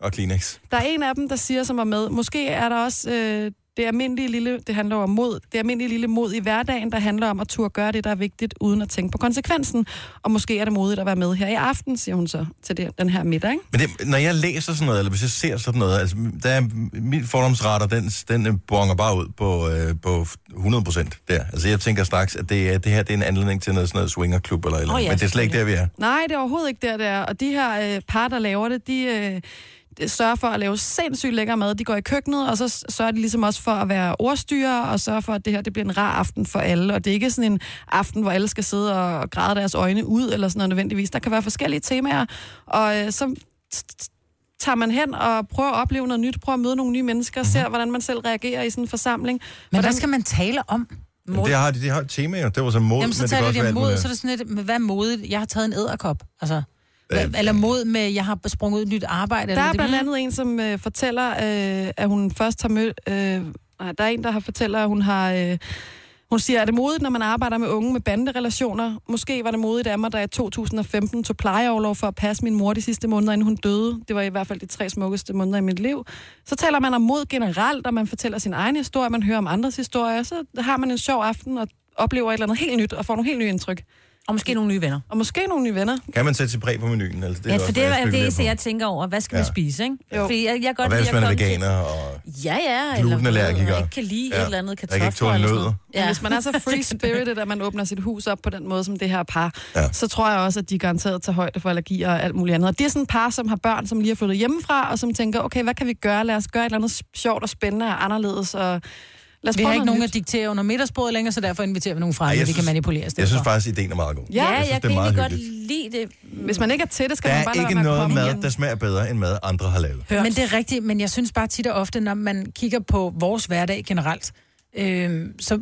Speaker 1: og Kleenex.
Speaker 4: Der er en af dem, der siger, som er med, måske er der også øh, det almindelige lille, det handler om mod, det almindelige lille mod i hverdagen, der handler om at turde gøre det, der er vigtigt, uden at tænke på konsekvensen. Og måske er det modigt at være med her i aften, siger hun så til det, den her middag. Ikke?
Speaker 1: Men det, når jeg læser sådan noget, eller hvis jeg ser sådan noget, altså, der er, min fordomsrater, den, den øh, bonger bare ud på, øh, på 100 procent der. Altså jeg tænker straks, at det, er, det her det er en anledning til noget, sådan noget swingerklub eller et eller
Speaker 3: Åh,
Speaker 1: andet.
Speaker 3: ja,
Speaker 1: Men det er slet ikke der, vi er.
Speaker 4: Nej, det er overhovedet ikke der, det er. Og de her øh, par, der laver det, de øh, de sørger for at lave sindssygt lækker mad. De går i køkkenet, og så s- sørger de ligesom også for at være ordstyrer, og sørger for, at det her det bliver en rar aften for alle. Og det er ikke sådan en aften, hvor alle skal sidde og, og græde deres øjne ud, eller sådan noget nødvendigvis. Der kan være forskellige temaer, og øh, så t- t- tager man hen og prøver at opleve noget nyt, prøver at møde nogle nye mennesker, ser, hvordan man selv reagerer i sådan en forsamling.
Speaker 2: Mhm. Men hvad
Speaker 4: Hvordan-
Speaker 2: skal man tale om?
Speaker 1: Men det har de, de har et tema jo. Det var så mod,
Speaker 2: Jamen, så
Speaker 1: men det kan
Speaker 2: taler
Speaker 1: også være
Speaker 2: de om
Speaker 1: alt
Speaker 2: mod,
Speaker 1: muligt.
Speaker 2: så er det sådan lidt, men hvad er modet? Jeg har taget en æderkop, altså. Hva,
Speaker 1: Øh,
Speaker 2: eller mod med, jeg har sprunget ud i et nyt arbejde.
Speaker 4: Der
Speaker 2: eller
Speaker 4: er
Speaker 2: det-
Speaker 4: blandt andet en, som øh, fortæller, øh, at hun først har mødt... Øh, nej, der er en, der har fortæller, at hun har... Øh, hun siger, at det modigt, når man arbejder med unge med banderelationer? Måske var det modigt af mig, da jeg i 2015 tog plejeoverlov for at passe min mor de sidste måneder, inden hun døde. Det var i hvert fald de tre smukkeste måneder i mit liv. Så taler man om mod generelt, og man fortæller sin egen historie, man hører om andres historier. Så har man en sjov aften og oplever et eller andet helt nyt, og får nogle helt nye indtryk.
Speaker 3: Og måske nogle nye venner.
Speaker 4: Og måske nogle nye venner.
Speaker 1: Kan man sætte sit præg på menuen? Altså, det
Speaker 3: Ja,
Speaker 1: er
Speaker 3: for
Speaker 1: også,
Speaker 3: det
Speaker 1: hvad
Speaker 3: er det
Speaker 1: spekulerer
Speaker 3: eneste,
Speaker 1: på.
Speaker 3: jeg tænker over. Hvad skal
Speaker 1: Ja.
Speaker 3: man spise, ikke?
Speaker 4: Jo.
Speaker 3: Fordi jeg, jeg kan
Speaker 1: Og
Speaker 3: godt
Speaker 1: hvad hvis
Speaker 3: lide
Speaker 1: man
Speaker 3: at
Speaker 1: er
Speaker 3: komme til...
Speaker 1: veganer? Og...
Speaker 3: Ja, ja.
Speaker 1: Glutenallergiker.
Speaker 3: Eller ikke kan lide
Speaker 1: Ja.
Speaker 3: et eller andet
Speaker 1: Der kan
Speaker 3: kartofler.
Speaker 1: ikke tåle
Speaker 3: eller sådan
Speaker 1: nødder.
Speaker 3: noget.
Speaker 4: Ja. Hvis man er så free-spirited, at man åbner sit hus op på den måde, som det her par,
Speaker 1: Ja.
Speaker 4: ja. så tror jeg også, at de garanteret tager højde for allergier og alt muligt andet. Og det er sådan et par, som har børn, som lige er flyttet hjemmefra, og som tænker, okay, hvad kan vi gøre? Lad os gøre et eller andet sjovt og spændende og anderledes. Og lad os
Speaker 2: Vi
Speaker 4: prøve
Speaker 2: har ikke
Speaker 4: noget
Speaker 2: nogen
Speaker 4: nyt.
Speaker 2: at diktere under middagsbordet længere, så derfor inviterer vi nogen
Speaker 1: Ej,
Speaker 2: frem,
Speaker 1: jeg
Speaker 2: vi kan
Speaker 1: synes-
Speaker 2: manipulere i stedet
Speaker 1: Jeg synes
Speaker 2: for.
Speaker 1: faktisk, ideen er meget god.
Speaker 4: Ja,
Speaker 3: Ja,
Speaker 1: synes,
Speaker 3: jeg
Speaker 1: det er
Speaker 3: kan egentlig
Speaker 1: meget
Speaker 3: godt
Speaker 1: hyggeligt.
Speaker 3: lide det.
Speaker 4: Hvis man ikke er til det, skal
Speaker 1: Der
Speaker 4: man bare
Speaker 1: er
Speaker 4: lade
Speaker 1: ikke
Speaker 4: være med at
Speaker 1: noget
Speaker 4: komme
Speaker 1: mad,
Speaker 4: igen.
Speaker 1: der smager bedre, end mad andre har lavet.
Speaker 2: Men det er rigtigt, men jeg synes bare tit og ofte, når man kigger på vores hverdag generelt, øh, så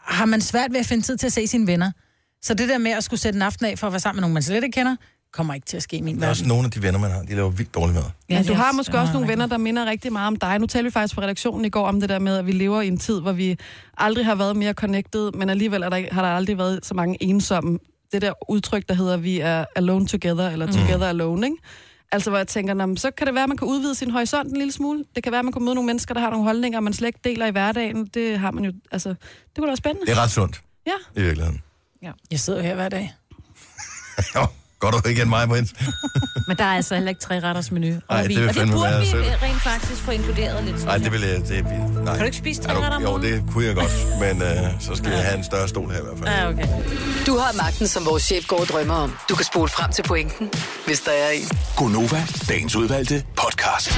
Speaker 2: har man svært ved at finde tid til at se sine venner. Så det der med at skulle sætte en aften af for at være sammen med nogen, man slet ikke kender, kommer ikke til at ske i min
Speaker 1: Der er også
Speaker 2: verden.
Speaker 1: nogle af de venner, man har, de laver vildt dårlig mad.
Speaker 4: Ja, men du har måske også nogle
Speaker 2: rigtigt.
Speaker 4: venner, der minder rigtig meget om dig. Nu talte vi faktisk på redaktionen i går om det der med, at vi lever i en tid, hvor vi aldrig har været mere connected, men alligevel er der, ikke- har der aldrig været så mange ensomme. Det der udtryk, der hedder, vi er alone together, eller together alone, ikke? Altså, hvor jeg tænker, nå, men så kan det være, at man kan udvide sin horisont en lille smule. Det kan være, at man kan møde nogle mennesker, der har nogle holdninger, man slet ikke deler i hverdagen. Det har man jo, altså, det kunne da være spændende.
Speaker 1: Det er ret sundt,
Speaker 4: Ja.
Speaker 1: i virkeligheden.
Speaker 2: Jeg sidder jo her hver dag.
Speaker 1: Jo, godt du ikke end mig, Brins.
Speaker 3: Men der er altså heller ikke tre retters menu. og
Speaker 1: Ej, det
Speaker 3: vin.
Speaker 1: vil
Speaker 3: og det
Speaker 1: fandme
Speaker 3: burde
Speaker 1: være
Speaker 3: vi
Speaker 1: sødt.
Speaker 3: øh, rent faktisk få inkluderet lidt.
Speaker 1: Nej, det vil jeg... Det, nej.
Speaker 3: Kan du ikke spise tre
Speaker 1: Er
Speaker 3: retter om
Speaker 1: Jo,
Speaker 3: morgenen?
Speaker 1: det kunne jeg godt, men øh, så skal jeg have en større stol her i hvert fald.
Speaker 3: Ja, okay.
Speaker 6: Du har magten, som vores chef går og drømmer om. Du kan spole frem til pointen, hvis der er en.
Speaker 5: Gonova, dagens udvalgte podcast.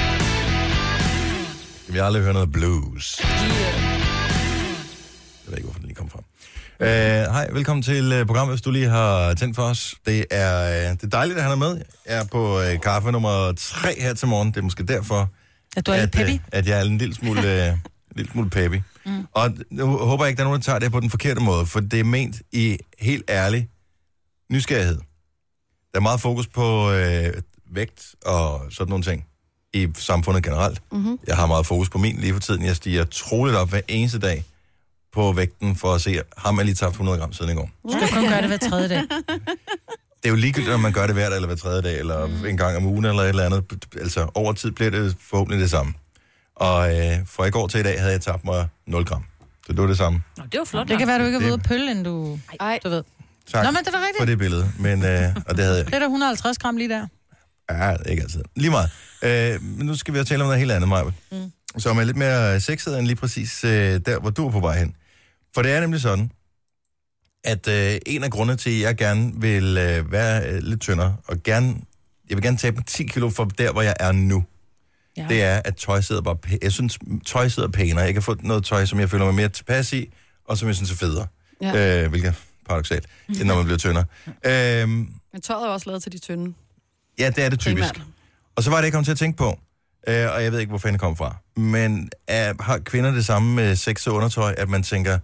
Speaker 1: Vi har aldrig hørt noget blues. Jeg ved ikke, hvorfor den lige kom frem. Øh, Hej, velkommen til øh, programmet, hvis du lige har tændt for os. Det er, øh, det er dejligt, at han er med. Jeg er på øh, kaffe nummer 3 her til morgen. Det er måske derfor,
Speaker 2: At du er lidt
Speaker 1: at,
Speaker 2: peppy.
Speaker 1: øh, at jeg er en lille smule, øh, en lille smule peppy. Mm. Og nu håber jeg ikke, der er nogen, der tager det på den forkerte måde, for det er ment i helt ærlig nysgerrighed. Der er meget fokus på øh, vægt og sådan nogle ting i samfundet generelt.
Speaker 2: Mhm.
Speaker 1: Mm-hmm. Jeg har meget fokus på min lige for tiden. Jeg stiger troligt op hver eneste dag på vægten for at se, har man lige tabt 100 gram siden i går?
Speaker 2: Du skal kun gøre det hver tredje dag.
Speaker 1: Det er jo ligegyldigt, om man gør det hver dag, eller hver tredje dag, eller mm. en gang om ugen, eller et eller andet. Altså, over tid bliver det forhåbentlig det samme. Og øh, fra i går til i dag havde jeg tabt mig 0 gram. Så det var det samme.
Speaker 3: Nå, det var flot.
Speaker 2: Det kan være, du ikke har
Speaker 1: Det-
Speaker 2: været ude at pølle, end du...
Speaker 4: Ej.
Speaker 2: Du ved.
Speaker 1: Tak
Speaker 2: Nå, men det var
Speaker 1: for
Speaker 2: rigtigt.
Speaker 1: det billede. Men, øh, og det havde jeg
Speaker 2: Det er der 150 gram lige der.
Speaker 1: Ja, ikke altid. Lige meget. Øh, men nu skal vi jo tale om noget helt andet, Maja. Mm. Som er lidt mere sexet end lige præcis øh, der, hvor du er på vej hen. For det er nemlig sådan, at øh, en af grundene til, at jeg gerne vil øh, være øh, lidt tyndere, og gerne, jeg vil gerne tabe 10 kilo fra der, hvor jeg er nu, ja. det er, at tøj sidder bare pæ- Jeg synes, tøj sidder pænere. Jeg kan få noget tøj, som jeg føler mig mere tilpas i, og som jeg synes er federe. Ja. Øh, hvilket er paradoxalt, end når man bliver tyndere. Øh,
Speaker 4: Men tøjet er også lavet til de tynde.
Speaker 1: ja, det er det typisk.
Speaker 4: Primært.
Speaker 1: Og så var det, jeg kom til at tænke på, øh, og jeg ved ikke, hvor fanden det kom fra, men er, har kvinder det samme med sex og undertøj, at man tænker,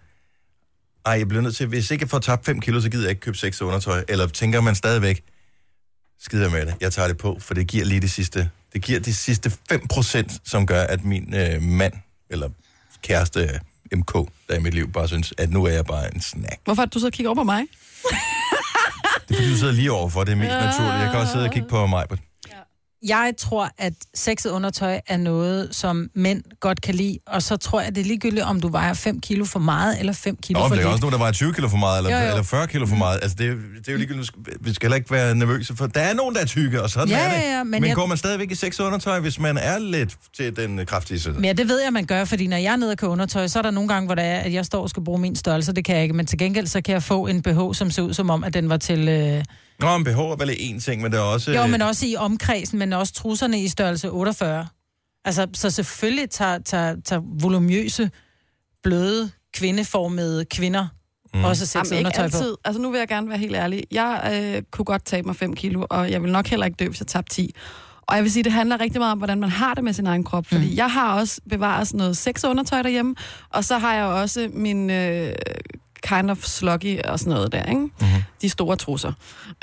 Speaker 1: ej, jeg bliver nødt til, hvis ikke jeg får tabt 5 kilo, så gider jeg ikke købe sex og undertøj, eller tænker man stadigvæk, skider med det, jeg tager det på, for det giver lige det sidste, det giver de sidste 5%, som gør, at min øh, mand, eller kæreste øh, MK, der er i mit liv, bare synes, at nu er jeg bare en snack.
Speaker 4: Hvorfor er det, du så kigger over på mig?
Speaker 1: Det er fordi, du sidder lige overfor, det er mest naturligt. Jeg kan også sidde og kigge på mig, men
Speaker 2: Jeg tror, at sexet undertøj er noget, som mænd godt kan lide, og så tror jeg, det er ligegyldigt, om du vejer 5 kilo for meget eller 5 kilo
Speaker 1: Nå,
Speaker 2: for
Speaker 1: men der er
Speaker 2: lidt.
Speaker 1: også nogen, der vejer 20 kilo for meget, eller,
Speaker 2: Jo, jo.
Speaker 1: eller 40 kilo for meget. Altså, det, er- det er jo ligegyldigt. Nu skal- Vi skal heller ikke være nervøse for... Der er nogen, der er tykke, og sådan
Speaker 2: Ja,
Speaker 1: er det.
Speaker 2: ja, ja, men
Speaker 1: men
Speaker 2: jeg-
Speaker 1: går man stadigvæk i sex og undertøj, hvis man er lidt til den øh, kraftige side?
Speaker 2: Men ja, det ved jeg, man gør, fordi når jeg er nede og køber undertøj, så er der nogle gange, hvor det er, at jeg står og skal bruge min størrelse, det kan jeg ikke, men til gengæld, så kan jeg få en BH, som ser ud som om, at den var til... Øh...
Speaker 1: Nå, men behov er vel en ting, men der er også...
Speaker 2: Jo, men også i omkredsen, men også trusserne i størrelse 48. Altså, så selvfølgelig tager, tager, tager volumøse, bløde, kvindeformede kvinder mm. også sexet
Speaker 4: Jamen, ikke
Speaker 2: undertøj på.
Speaker 4: altid. Altså, nu vil jeg gerne være helt ærlig. Jeg øh, kunne godt tabe mig 5 kilo, og jeg vil nok heller ikke dø, hvis jeg tabte 10. Og jeg vil sige, det handler rigtig meget om, hvordan man har det med sin egen krop. Fordi mm. jeg har også bevaret sådan noget sex og undertøj derhjemme, og så har jeg også min øh, kind of sluggy og sådan noget der, ikke? Mm-hmm. De store trusser.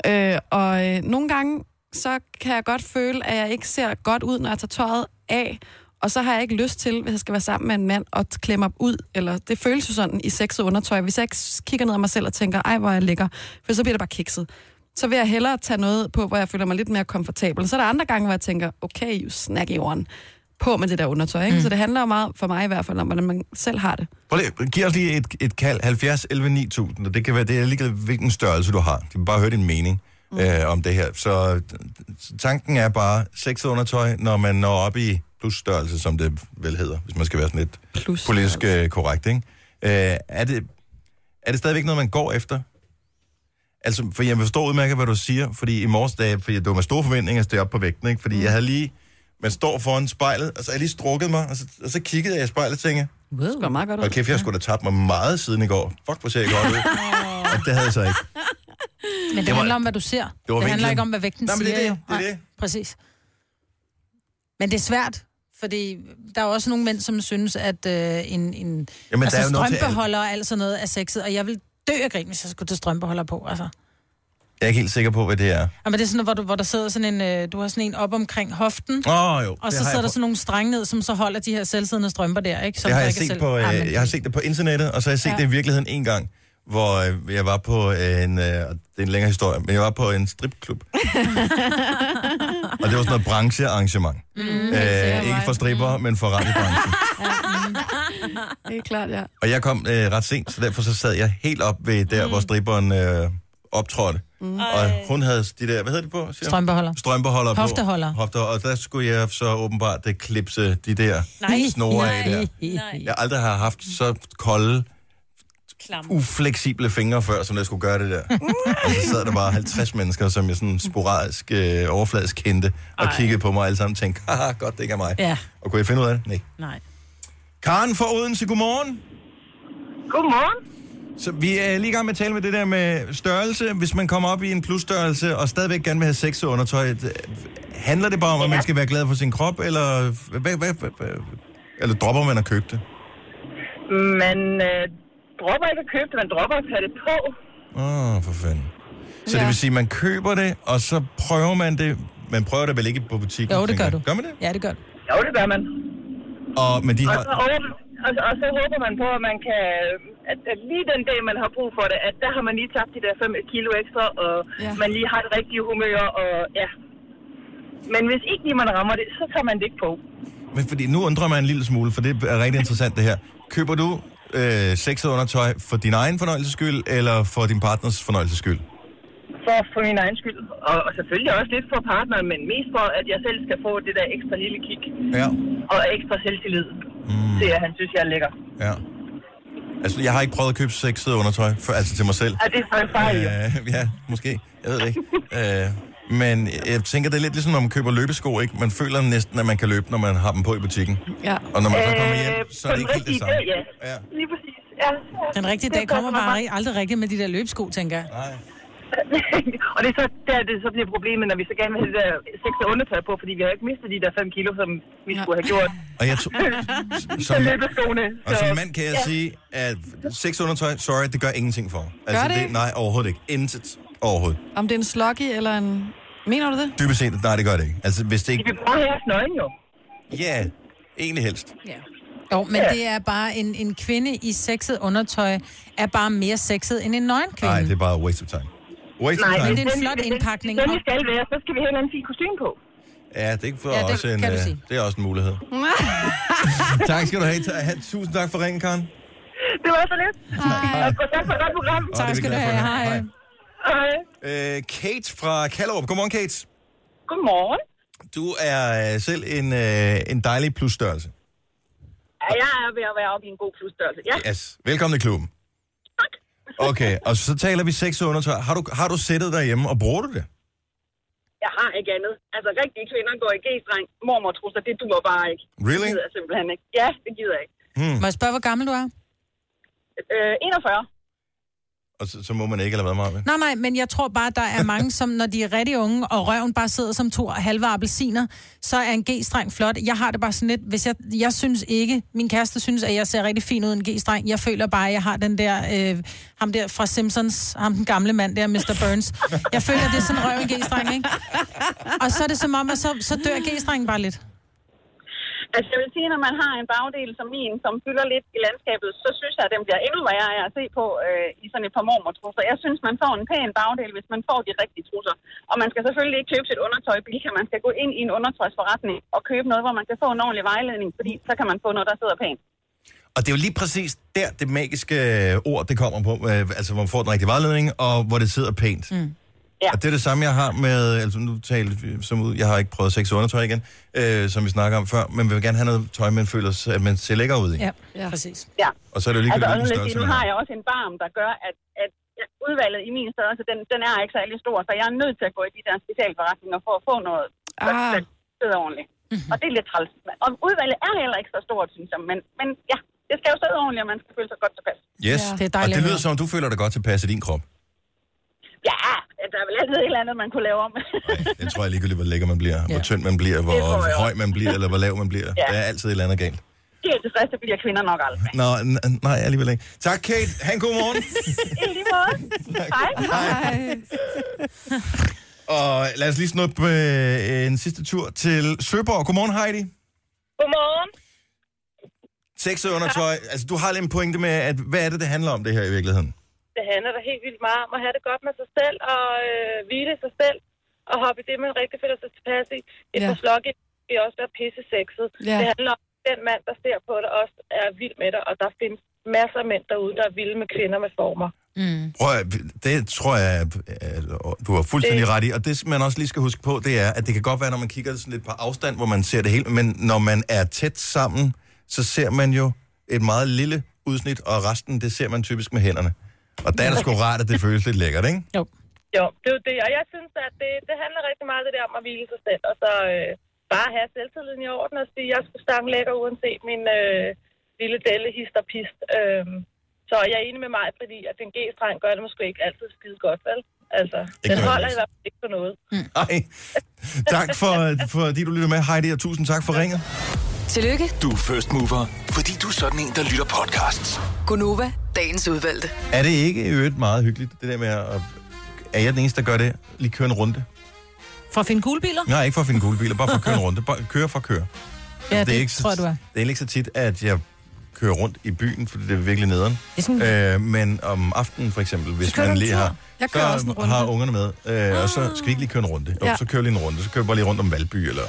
Speaker 4: Øh, og øh, nogle gange, så kan jeg godt føle, at jeg ikke ser godt ud, når jeg tager tøjet af. Og så har jeg ikke lyst til, hvis jeg skal være sammen med en mand, at klemme op ud. Eller det føles jo sådan i sexet undertøj. Hvis jeg ikke s- kigger ned af mig selv og tænker, ej, hvor er jeg lækker, for så bliver det bare kikset. Så vil jeg hellere tage noget på, hvor jeg føler mig lidt mere komfortabel. Så er der andre gange, hvor jeg tænker, okay, you snacky one, på med det der undertøj. Ikke? Mm. Så det handler jo meget, for mig i hvert fald, om, hvordan man selv har det.
Speaker 1: Prøv lige, giv os lige et, et kald. 70 11 9000, og det kan være, det er lige hvilken størrelse du har. De vil bare høre din mening mm. øh, om det her. Så øh, tanken er bare sexet undertøj, når man når op i plusstørrelse, som det vel hedder, hvis man skal være sådan lidt
Speaker 4: Plus,
Speaker 1: politisk øh, korrekt, ikke? Øh, er, det, er det stadigvæk noget, man går efter? Altså, for jeg forstår udmærket, hvad du siger, fordi i morges, da jeg, fordi det var med store forventninger at stå op på vægten, ikke? Fordi jeg havde lige, man står foran spejlet, og så har jeg lige strukket mig, og så, og så kiggede jeg i spejlet og tænkte,
Speaker 4: det går meget godt ud.
Speaker 1: og kæft, jeg skulle da tabt mig meget siden i går. Fuck, hvor ser jeg godt ud. og det havde jeg så ikke.
Speaker 2: Men
Speaker 1: Det
Speaker 2: det, det
Speaker 1: var-
Speaker 2: handler om, hvad du ser. Det,
Speaker 1: var
Speaker 2: det handler
Speaker 1: vinklen.
Speaker 2: ikke om, hvad vægten
Speaker 1: Nej, men
Speaker 2: siger.
Speaker 1: det er det,
Speaker 2: jo.
Speaker 1: det er
Speaker 2: Nej,
Speaker 1: det.
Speaker 2: Præcis. Men det er svært, Fordi der er også nogle mænd, som synes, at øh, en, en
Speaker 1: Jamen,
Speaker 2: altså,
Speaker 1: der er jo noget til
Speaker 2: strømpeholder og alt sådan noget er sexet, og jeg vil dø af grin, hvis jeg skulle tage strømpeholder på, altså.
Speaker 1: Jeg er ikke helt sikker på, hvad det er.
Speaker 2: Jamen, det er sådan, hvor du, hvor der sidder sådan en, øh, du har sådan en op omkring hoften,
Speaker 1: Åh, oh, jo.
Speaker 2: og
Speaker 1: det
Speaker 2: så
Speaker 1: har
Speaker 2: sidder
Speaker 1: jeg
Speaker 2: der
Speaker 1: prøvet.
Speaker 2: sådan nogle strenge ned, som så holder de her selvsiddende strømper der, ikke? Som
Speaker 1: Det har
Speaker 2: så
Speaker 1: jeg,
Speaker 2: ikke er
Speaker 1: set
Speaker 2: selv-
Speaker 1: på,
Speaker 2: Ah, men-
Speaker 1: øh, jeg har set det på internettet, og så har jeg set
Speaker 2: Ja.
Speaker 1: det i virkeligheden en gang, hvor øh, jeg var på øh, en, øh, og det er en længere historie, men jeg var på en stripklub. og det var sådan noget branchearrangement. Mm, øh, ikke for stripper, mm. men for radiobranchen.
Speaker 4: Det er klart, ja.
Speaker 1: Og jeg kom øh, ret sent, så derfor så sad jeg helt op ved der, mm. hvor stripperen øh, optrådte. Mm. Og hun havde de der, hvad hedder det på? Siger?
Speaker 2: Strømpeholder.
Speaker 1: Strømpeholder på.
Speaker 2: Hofteholder.
Speaker 1: Hofter, og der skulle jeg så åbenbart øh, klipse de der
Speaker 3: Nej.
Speaker 1: snore af der.
Speaker 3: Nej,
Speaker 1: Jeg aldrig har haft så kolde,
Speaker 3: klam.
Speaker 2: Uh.
Speaker 1: ufleksible fingre før, som jeg skulle gøre det der. og så sad der bare 50 mennesker, som jeg sådan sporadisk øh, overfladisk kendte, og Ej. kiggede på mig og alle sammen og tænkte, haha, godt, det ikke er mig.
Speaker 3: Ja.
Speaker 1: Og kunne jeg finde ud af det? Nej.
Speaker 3: Nej.
Speaker 1: Karen fra Odense, godmorgen.
Speaker 8: Godmorgen.
Speaker 1: Så vi er lige i gang med at tale med det der med størrelse. Hvis man kommer op i en plusstørrelse og stadigvæk gerne vil have sexet undertøj, d- handler det bare om, at man skal være glad for sin krop, eller, hvad, hvad, hvad, hvad, eller dropper man at købe det?
Speaker 8: Man øh, dropper ikke at købe det, man dropper at tage det på.
Speaker 1: Åh, oh, for fanden. Så ja. det
Speaker 4: Ja.
Speaker 1: vil sige, at man køber det, og så prøver man det. Man prøver det vel ikke på butikken?
Speaker 2: Jo, det
Speaker 1: tænker
Speaker 2: gør
Speaker 1: jeg.
Speaker 2: du.
Speaker 1: Gør man det?
Speaker 2: Ja, det gør du.
Speaker 8: Jo, det gør man.
Speaker 1: Og, men de
Speaker 8: Og så,
Speaker 1: har...
Speaker 8: over, og, og så håber man på, at man kan, at, at lige den dag, man har brug for det, at der har man lige tabt de der 5 kilo ekstra, og
Speaker 4: Ja.
Speaker 8: ja. man lige har det rigtige humør, og ja. Men hvis ikke lige man rammer det, så tager man det ikke på.
Speaker 1: Men fordi nu undrer man en lille smule, for det er rigtig interessant det her. Køber du øh, sexet undertøj for din egen fornøjelses skyld, eller for din partners fornøjelses skyld?
Speaker 8: For, for min egen skyld, og, og selvfølgelig også lidt for partneren, men mest for, at jeg selv skal få det der ekstra lille kig,
Speaker 1: Ja.
Speaker 8: og ekstra selvtillid mm. til, at han synes, jeg er lækker.
Speaker 1: Ja. Altså, jeg har ikke prøvet at købe sexet undertøj, for, altså til mig selv.
Speaker 8: Og det er så en fejl, jo.
Speaker 1: Øh, ja, måske. Jeg ved det ikke. øh, men jeg tænker, det er lidt ligesom, når man køber løbesko, ikke? Man føler næsten, at man kan løbe, når man har dem på i butikken.
Speaker 4: ja.
Speaker 1: Og når man så kommer
Speaker 8: Øh,
Speaker 1: hjem, så
Speaker 8: på
Speaker 1: er det
Speaker 8: den
Speaker 1: ikke helt det
Speaker 8: rigtige
Speaker 1: samme.
Speaker 8: dag, ja.
Speaker 1: Ja.
Speaker 8: Lige præcis. Ja.
Speaker 2: Den rigtige dag kommer bare ri- aldrig rigtigt med de der løbesko, tænker jeg.
Speaker 1: Nej.
Speaker 8: og det er så der, det så bliver problemet, når vi så gerne vil have det der sexet undertøj på, fordi vi har jo ikke mistet de der 5 kilo, som vi
Speaker 4: Nej.
Speaker 8: skulle have gjort.
Speaker 1: Og jeg to-
Speaker 8: Så
Speaker 1: som,
Speaker 8: løbeskoene.
Speaker 1: og som mand kan jeg sige, at sex undertøj, sorry, det gør ingenting for mig.
Speaker 4: Gør det ikke?
Speaker 1: Nej, overhovedet ikke. Intet overhovedet.
Speaker 4: Om det er en sloggy eller en... Mener du det?
Speaker 1: Dybest set, nej, det gør det ikke. Altså, hvis det
Speaker 8: De
Speaker 1: ikke...
Speaker 8: vil bare have os nøgen, jo.
Speaker 1: Ja, yeah, egentlig helst.
Speaker 2: Jo, men det er bare en, en kvinde i sexet undertøj, er bare mere sexet end en nøgen kvinde.
Speaker 1: Nej, det er bare a waste of time. Waste
Speaker 8: Nej,
Speaker 1: of
Speaker 8: hvis
Speaker 1: time.
Speaker 2: det er en flot
Speaker 8: hvis den-
Speaker 2: indpakning,
Speaker 8: Hvis den
Speaker 2: og-
Speaker 8: skal være, så skal vi have en eller anden fin kostume på.
Speaker 1: Ja, det er, for
Speaker 2: Ja,
Speaker 1: ja,
Speaker 2: det
Speaker 1: også en,
Speaker 2: kan du
Speaker 1: øh,
Speaker 2: sige.
Speaker 1: det er også en mulighed. tak skal du have. Ta- ha- Tusind tak for ringen, Karen.
Speaker 8: Det var så lidt. Hej. Og tak for et godt program.
Speaker 1: Og det er vi
Speaker 2: skal
Speaker 1: glade
Speaker 2: du
Speaker 1: for at
Speaker 2: have.
Speaker 1: høre.
Speaker 8: Hej.
Speaker 2: Hej.
Speaker 1: Hej. Øh, Kate fra Kallerup. Godmorgen, Kate.
Speaker 8: Godmorgen.
Speaker 1: Du er øh, selv en, øh, en dejlig plusstørrelse.
Speaker 8: Ja, jeg er ved at være oppe i en god plusstørrelse. Ja,
Speaker 1: Yes. Velkommen i klubben.
Speaker 8: tak.
Speaker 1: Okay, og så taler vi sex og undertøj. Har du, har du sættet derhjemme, og bruger du det?
Speaker 8: Jeg har ikke andet. Altså, rigtige kvinder går i g-streng. Mormor trusser, det duer bare ikke. Det
Speaker 1: Really?
Speaker 8: gider jeg simpelthen ikke. Ja, det gider jeg ikke.
Speaker 2: Må jeg spørge, hvor gammel du er?
Speaker 8: Øh, 41.
Speaker 1: Og så, så må man ikke, eller hvad, Marvin?
Speaker 2: Nej, nej, men jeg tror bare, der er mange, som når de er rigtig unge, og røven bare sidder som to halve appelsiner, så er en G-streng flot. Jeg har det bare sådan lidt, hvis jeg, jeg synes ikke, min kæreste synes, at jeg ser rigtig fin ud i en G-streng. Jeg føler bare, at jeg har den der, øh, ham der fra Simpsons, ham den gamle mand der, Mr. Burns. Jeg føler, det er sådan røv i en G-streng, ikke? Og så er det som om, at så, så dør G-strengen bare lidt.
Speaker 8: Altså, jeg vil sige, når man har en bagdel som min, som fylder lidt i landskabet, så synes jeg, at den bliver endnu værre af at se på øh, i sådan et par mormortrusser. Jeg synes, man får en pæn bagdel, hvis man får de rigtige trusser. Og man skal selvfølgelig ikke købe sit undertøj billigt, man skal gå ind i en undertøjsforretning og købe noget, hvor man kan få en ordentlig vejledning, fordi så kan man få noget, der sidder pænt.
Speaker 1: Og det er jo lige præcis der, det magiske øh, ord, det kommer på. Øh, altså, hvor man får den rigtige vejledning, og hvor det sidder pænt. Mm.
Speaker 8: Ja.
Speaker 1: Og det er det samme, jeg har med... Altså, nu talte vi som ud... Jeg har ikke prøvet sex og undertøj igen, øh, som vi snakker om før. Men vi vil gerne have noget tøj, man føler, at man ser lækker ud i.
Speaker 2: Ja,
Speaker 4: Ja.
Speaker 2: præcis.
Speaker 8: Ja.
Speaker 1: Og så er det jo lige
Speaker 8: Altså,
Speaker 1: altså, hvilken
Speaker 8: og nu vil jeg
Speaker 1: størrelse
Speaker 8: sige, nu
Speaker 1: man
Speaker 8: har
Speaker 1: har.
Speaker 8: jeg også en barm, der gør, at, at udvalget i min størrelse, den, den er ikke særlig stor, så jeg er nødt til at gå i de der specialforretninger for at få noget, der,
Speaker 4: Ah.
Speaker 8: der sidder ordentligt. Og det er lidt træls. Og udvalget er heller ikke så stort, synes jeg, men, men ja, det skal jo sidde ordentligt, og man skal føle sig godt tilpas.
Speaker 1: Yes.
Speaker 4: Ja.
Speaker 2: Det er
Speaker 1: Og
Speaker 2: dejligt
Speaker 1: det
Speaker 2: at
Speaker 1: lyder
Speaker 2: høre.
Speaker 1: som, om, du føler dig godt tilpas i din krop.
Speaker 8: Ja, at der er vel altid et eller andet, man kunne lave om.
Speaker 1: Det tror jeg ligegyldigt, hvor lækker man bliver, hvor
Speaker 2: Ja.
Speaker 1: tynd man bliver,
Speaker 8: Det tror jeg
Speaker 1: hvor
Speaker 8: også.
Speaker 1: høj man bliver, eller hvor lav man bliver.
Speaker 8: Ja.
Speaker 1: Der er altid et eller andet galt.
Speaker 8: Helt tilfreds, det bliver kvinder nok aldrig.
Speaker 1: Nå, n- nej, alligevel ikke. Tak, Kate. Ha' en god morgen.
Speaker 8: I lige måde. Hej.
Speaker 4: Ej,
Speaker 1: Og lad os lige snuppe øh, en sidste tur til Søborg. Godmorgen, Heidi.
Speaker 8: Godmorgen.
Speaker 1: Sex og undertøj. Altså, du har lidt en pointe med, at hvad er det, det handler om, det her i virkeligheden?
Speaker 8: Det handler da helt vildt meget om at have det godt med sig selv, og øh, hvile sig selv, og hoppe i det, man rigtig føler sig tilpas i. Et
Speaker 4: Ja.
Speaker 8: ja. forslag vil også være pisse sexet.
Speaker 4: Ja.
Speaker 8: Ja. Det handler om, at den mand, der ser på det, også er vild med dig, og der findes masser af mænd derude, der er vilde med kvinder med former.
Speaker 1: Prøv at, det tror jeg, at- at du har fuldstændig ret i. Og det, man også lige skal huske på, det er, at det kan godt være, når man kigger sådan lidt på afstand, hvor man ser det hele, men når man er tæt sammen, så ser man jo et meget lille udsnit, og resten, det ser man typisk med hænderne. Og der er det sgu rart, at det føles lidt lækkert, ikke?
Speaker 2: Jo.
Speaker 8: Jo, det er jo det, og jeg synes, at det, det handler rigtig meget det der om at hvile sig selv, og så øh, bare have selvtilliden i orden og sige, at jeg skulle stange lækker, uanset min øh, lille delle hist og pist. Øh, så jeg er enig med mig, fordi at den G-streng gør det måske ikke altid skide godt, vel? Altså,
Speaker 1: Ikke
Speaker 8: den holder
Speaker 1: nødvendigvis.
Speaker 8: i hvert fald ikke på noget.
Speaker 1: Ej. Tak for, fordi du lytter med, Heidi, og tusind tak for ringet.
Speaker 6: Tillykke,
Speaker 5: Du er first mover, fordi du er sådan en, der lytter podcasts.
Speaker 6: Gunova, dagens udvalgte.
Speaker 1: Er det ikke i øvrigt meget hyggeligt, det der med at... Er jeg den eneste, der gør det? Lige køre en runde?
Speaker 3: For at finde kuglebiler?
Speaker 1: Nej, ikke for at finde gule biler, bare for at køre en runde. Bare køre for at køre.
Speaker 2: Ja,
Speaker 1: det er
Speaker 2: det
Speaker 1: ikke så-
Speaker 2: tror jeg, du er.
Speaker 1: Det er egentlig ikke så tit, at jeg kører rundt i byen, fordi det er virkelig nederen.
Speaker 3: Det er sådan,
Speaker 1: Øh, men om aftenen for eksempel, hvis
Speaker 4: kører du
Speaker 1: man
Speaker 4: en
Speaker 1: lige
Speaker 4: tur?
Speaker 1: har,
Speaker 4: Jeg kører også en
Speaker 1: så
Speaker 4: runde. Ah.
Speaker 1: har ungerne med, øh, og så skal vi ikke lige køre en runde. Jo,
Speaker 4: Ja. Ah.
Speaker 1: så kører vi lige en runde, så kører vi bare lige rundt om Valby, eller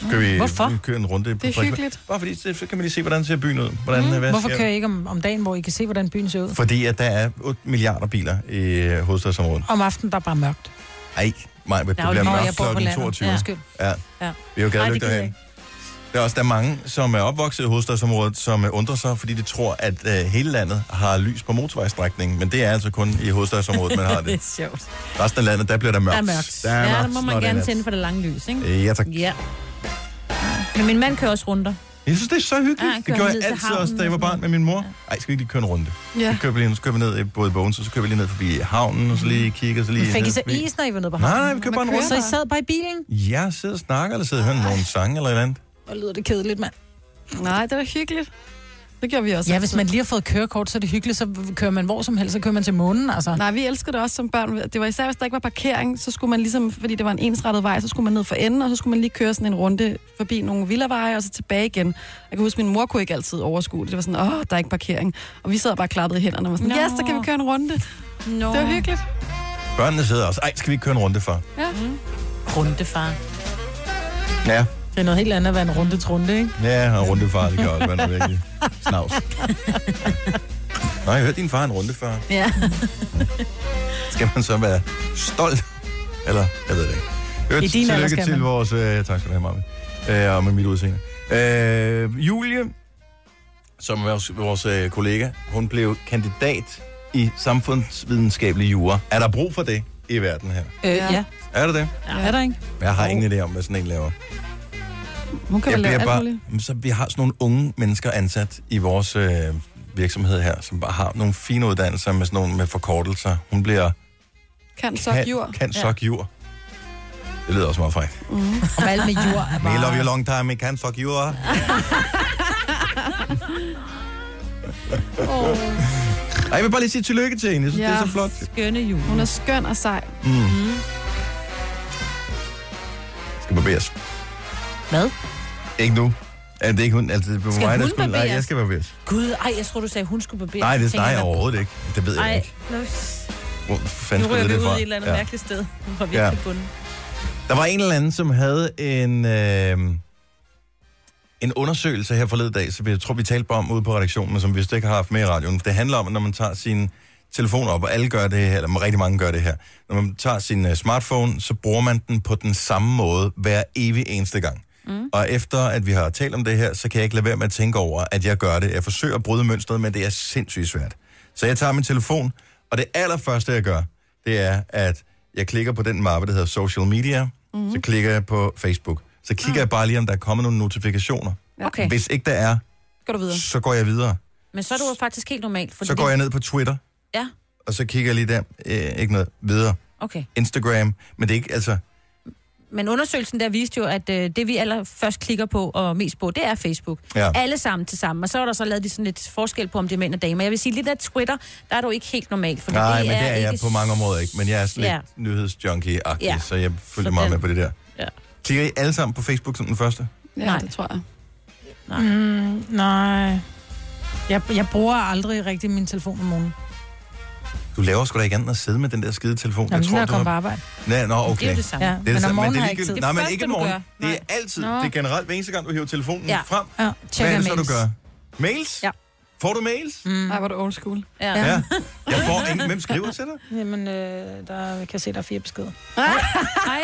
Speaker 1: så kører vi,
Speaker 2: Hvorfor?
Speaker 1: vi kører en runde. på
Speaker 4: Det er
Speaker 1: Frederiksberg.
Speaker 4: hyggeligt.
Speaker 1: Bare fordi, så, så kan man lige se, hvordan ser byen ud. Hvordan, mm. hvad
Speaker 2: Hvorfor
Speaker 1: ser-
Speaker 2: kører I ikke om, om dagen, hvor I kan se, hvordan byen ser ud?
Speaker 1: Fordi at der er 8 milliarder biler i øh, hovedstadsområdet.
Speaker 2: Om aftenen, der er bare mørkt.
Speaker 1: Ej, mig, det
Speaker 3: jo
Speaker 1: bliver
Speaker 3: lige- Nå,
Speaker 1: mørkt
Speaker 2: jeg bor på
Speaker 1: kl.
Speaker 2: landet.
Speaker 1: 22.
Speaker 2: Ja. Undskyld.
Speaker 1: Ja.
Speaker 3: Ja.
Speaker 1: Vi er jo
Speaker 3: Ej, det
Speaker 1: gadelygter
Speaker 3: gider jeg
Speaker 1: herinde. Der er også der er mange, som er opvokset i hovedstadsområdet, som øh, undrer sig, fordi de tror, at øh, hele landet har lys på motorvejstrækningen. Men det er altså kun i hovedstadsområdet, man har
Speaker 3: det er
Speaker 1: det.
Speaker 3: sjovt.
Speaker 1: Resten af landet, der bliver der mørkt.
Speaker 3: Der er mørkt.
Speaker 1: Der er
Speaker 3: ja,
Speaker 1: mørkt,
Speaker 3: der må
Speaker 1: når
Speaker 3: man
Speaker 1: det er
Speaker 3: gerne
Speaker 1: nat.
Speaker 3: tænde for det lange lys, ikke?
Speaker 1: Øh, Ja, tak.
Speaker 3: Ja. Men min mand kører også runder.
Speaker 1: Jeg synes, det er så
Speaker 3: Ja,
Speaker 1: hyggeligt.
Speaker 3: han
Speaker 1: det
Speaker 3: kører
Speaker 1: gjorde
Speaker 3: ned
Speaker 1: jeg
Speaker 3: til
Speaker 1: altid
Speaker 3: havnen
Speaker 1: også, da jeg
Speaker 3: og
Speaker 1: var
Speaker 3: sådan
Speaker 1: barn med min mor. Ej, skal vi ikke lige køre en runde?
Speaker 4: ja.
Speaker 1: Så kører vi, lige, så kører vi ned i både Bones, og så kører vi lige ned forbi havnen, og så lige kigger, og så lige...
Speaker 2: Men fik I
Speaker 1: ned
Speaker 2: så
Speaker 1: forbi-
Speaker 2: is, når I var nede på
Speaker 1: Nej,
Speaker 2: havnen?
Speaker 1: nej, vi kører bare en
Speaker 4: kører
Speaker 1: runde.
Speaker 2: Så I sad bare i bilen?
Speaker 1: Jeg sidder og snakker, eller sidder og hører nogle sange eller et eller andet.
Speaker 2: Og lyder det kedeligt, mand.
Speaker 4: Nej, det var hyggeligt. Det gjorde vi også.
Speaker 2: Ja, hvis man lige har fået kørekort, så er det hyggeligt, så kører man hvor som helst, så kører man til månen, altså.
Speaker 4: Nej, vi elskede det også som børn. Det var især, hvis der ikke var parkering, så skulle man ligesom, fordi det var en ensrettet vej, så skulle man ned for enden, og så skulle man lige køre sådan en runde forbi nogle villaveje, og så tilbage igen. Jeg kan huske, min mor kunne ikke altid overskue det. Det var sådan, åh, der er ikke parkering. Og vi sad og bare klappede i hænderne og var sådan,
Speaker 3: Nå.
Speaker 4: ja, yes, så kan vi køre en runde.
Speaker 3: Nå.
Speaker 4: Det var hyggeligt.
Speaker 1: Børnene sidder også. Ej, skal vi ikke køre en runde, far?
Speaker 2: Mm.
Speaker 3: Rundefar.
Speaker 1: Ja.
Speaker 2: Det er noget helt andet at være en runde trunde, ikke?
Speaker 1: Ja, og rundefar, det kan også være noget virkelig snavs. Nej, jeg hørte, din far er en rundefar.
Speaker 3: Ja.
Speaker 1: Skal man så være stolt? Eller, jeg ved det ikke. Hørt,
Speaker 2: I din alder
Speaker 1: tillykke
Speaker 2: skal
Speaker 1: til
Speaker 2: man.
Speaker 1: vores... Øh, tak skal du have, Marvin. Øh, og med mit udseende. Øh, Julie, som er vores, vores øh, kollega, hun blev kandidat i samfundsvidenskabelig jura. Er der brug for det i verden her?
Speaker 2: Øh,
Speaker 4: Ja.
Speaker 2: ja. ja.
Speaker 1: Er det det?
Speaker 2: Er der ikke?
Speaker 1: Jeg har ingen idé om, hvad sådan en laver.
Speaker 4: Hun kan vel lave alt muligt.
Speaker 1: Jamen, så vi har sådan nogle unge mennesker ansat i vores øh, virksomhed her, som bare har nogle fine uddannelser med sådan nogle med forkortelser. Hun bliver
Speaker 4: Kan så
Speaker 1: kan,
Speaker 4: jord.
Speaker 1: kan sok jur. Det lyder også meget frækt.
Speaker 2: Og alt med jord er
Speaker 1: Me love you
Speaker 2: bare...
Speaker 1: long time, I can sok jur. Ej, jeg vil bare lige sige tillykke til hende. Jeg synes, ja.
Speaker 4: Ja.
Speaker 1: det er så flot.
Speaker 3: Skønne jul.
Speaker 4: Hun er skøn og sej.
Speaker 1: Skal barberes.
Speaker 3: Hvad?
Speaker 1: Ikke nu. Ja, det er ikke hun. Altså, det er
Speaker 3: Skal
Speaker 1: mig, der
Speaker 3: hun
Speaker 1: skulle... Nej,
Speaker 3: barberes?
Speaker 1: jeg skal barberes.
Speaker 3: Gud, ej, jeg tror du sagde, hun skulle barbere.
Speaker 1: Nej,
Speaker 3: Jeg
Speaker 1: det er
Speaker 3: tænker,
Speaker 1: nej,
Speaker 3: hvad-
Speaker 1: overhovedet ikke. Det ved jeg
Speaker 3: Ej,
Speaker 1: ikke.
Speaker 3: nu,
Speaker 1: Hvor fanden
Speaker 3: nu
Speaker 1: skulle
Speaker 3: ryger
Speaker 1: jeg
Speaker 3: vi
Speaker 1: det
Speaker 3: ud
Speaker 1: fra?
Speaker 3: i et eller andet
Speaker 1: Ja.
Speaker 3: mærkeligt sted, hvor vi
Speaker 1: Ja.
Speaker 3: ikke kan bunde.
Speaker 1: Der var en eller anden, som havde en, øh, en undersøgelse her forleden dag, som jeg tror, vi talte bare om ude på redaktionen, men som vi vist ikke har haft med i radioen. Det handler om, at når man tager sin telefon op, og alle gør det her, eller rigtig mange gør det her. Når man tager sin øh, smartphone, så bruger man den på den samme måde hver evig eneste gang. Mm. Og efter at vi har talt om det her, så kan jeg ikke lade være med at tænke over, at jeg gør det. Jeg forsøger at bryde mønstret, men det er sindssygt svært. Så jeg tager min telefon, og det allerførste, jeg gør, det er, at jeg klikker på den mappe, der hedder social media.
Speaker 10: Mhm.
Speaker 1: Mm. Så klikker jeg på Facebook. Så
Speaker 10: Ah.
Speaker 1: kigger mm. jeg bare lige, om der er kommet nogle notifikationer.
Speaker 3: Okay,
Speaker 1: Hvis ikke der er,
Speaker 4: Går du videre?
Speaker 1: så går jeg videre.
Speaker 3: men så er du jo faktisk helt normalt. Fordi
Speaker 1: Så går
Speaker 3: det-
Speaker 1: jeg ned på Twitter,
Speaker 3: Ja.
Speaker 1: og så kigger jeg lige der. Øh, ikke noget videre.
Speaker 10: Okay.
Speaker 1: Instagram, men det er ikke, altså,
Speaker 10: Men undersøgelsen der viste jo, at øh, det vi allerførst klikker på og mest på, det er Facebook.
Speaker 1: Ja.
Speaker 10: Alle sammen til sammen. Og så var der så lavet de sådan lidt forskel på, om det er mænd og damer. Jeg vil sige, lidt af Twitter, der er du ikke helt normalt. For
Speaker 1: nej, men det er jeg
Speaker 10: ikke
Speaker 1: på mange områder ikke, men jeg er sådan lidt
Speaker 10: Ja.
Speaker 1: nyhedsjunkie-agtig,
Speaker 10: Ja.
Speaker 1: så jeg følger
Speaker 10: Så
Speaker 1: meget
Speaker 10: den-
Speaker 1: med på det der.
Speaker 10: Ja.
Speaker 1: Klikker I alle sammen på Facebook som den første?
Speaker 4: Ja,
Speaker 10: Nej.
Speaker 4: det tror jeg.
Speaker 10: Nej.
Speaker 2: Mm, nej. Jeg, jeg bruger aldrig rigtig min telefon om morgenen.
Speaker 1: Du laver sgu da ikke andet end at sidde med den der skide telefon.
Speaker 2: Jamen, når jeg
Speaker 1: du
Speaker 2: kommer på arbejde.
Speaker 1: Nej, nå, okay.
Speaker 10: Det er jo det samme. Ja.
Speaker 1: Det er
Speaker 2: Men
Speaker 1: det
Speaker 2: om
Speaker 1: samme, men
Speaker 2: morgenen
Speaker 1: det er
Speaker 2: har jeg ikke
Speaker 1: ligegyldigt.
Speaker 2: tid.
Speaker 1: Nej,
Speaker 10: Det
Speaker 1: men
Speaker 10: første,
Speaker 1: ikke
Speaker 10: du
Speaker 1: morgen.
Speaker 10: gør.
Speaker 1: Det er
Speaker 10: Nej.
Speaker 1: altid,
Speaker 2: Nå.
Speaker 1: det er generelt, hver eneste gang, du hiver telefonen
Speaker 10: Ja.
Speaker 1: frem.
Speaker 2: Ja,
Speaker 1: Hvad er
Speaker 2: tjekker
Speaker 1: det så, du
Speaker 2: mails.
Speaker 1: gør? Mails?
Speaker 2: Ja.
Speaker 1: Får du mails? Mm.
Speaker 4: Ej, hvor er det old school.
Speaker 10: Ja.
Speaker 1: Ja. Jeg får ingen. Hvem skriver til dig?
Speaker 2: Jamen, øh, der jeg kan se, der er fire beskeder.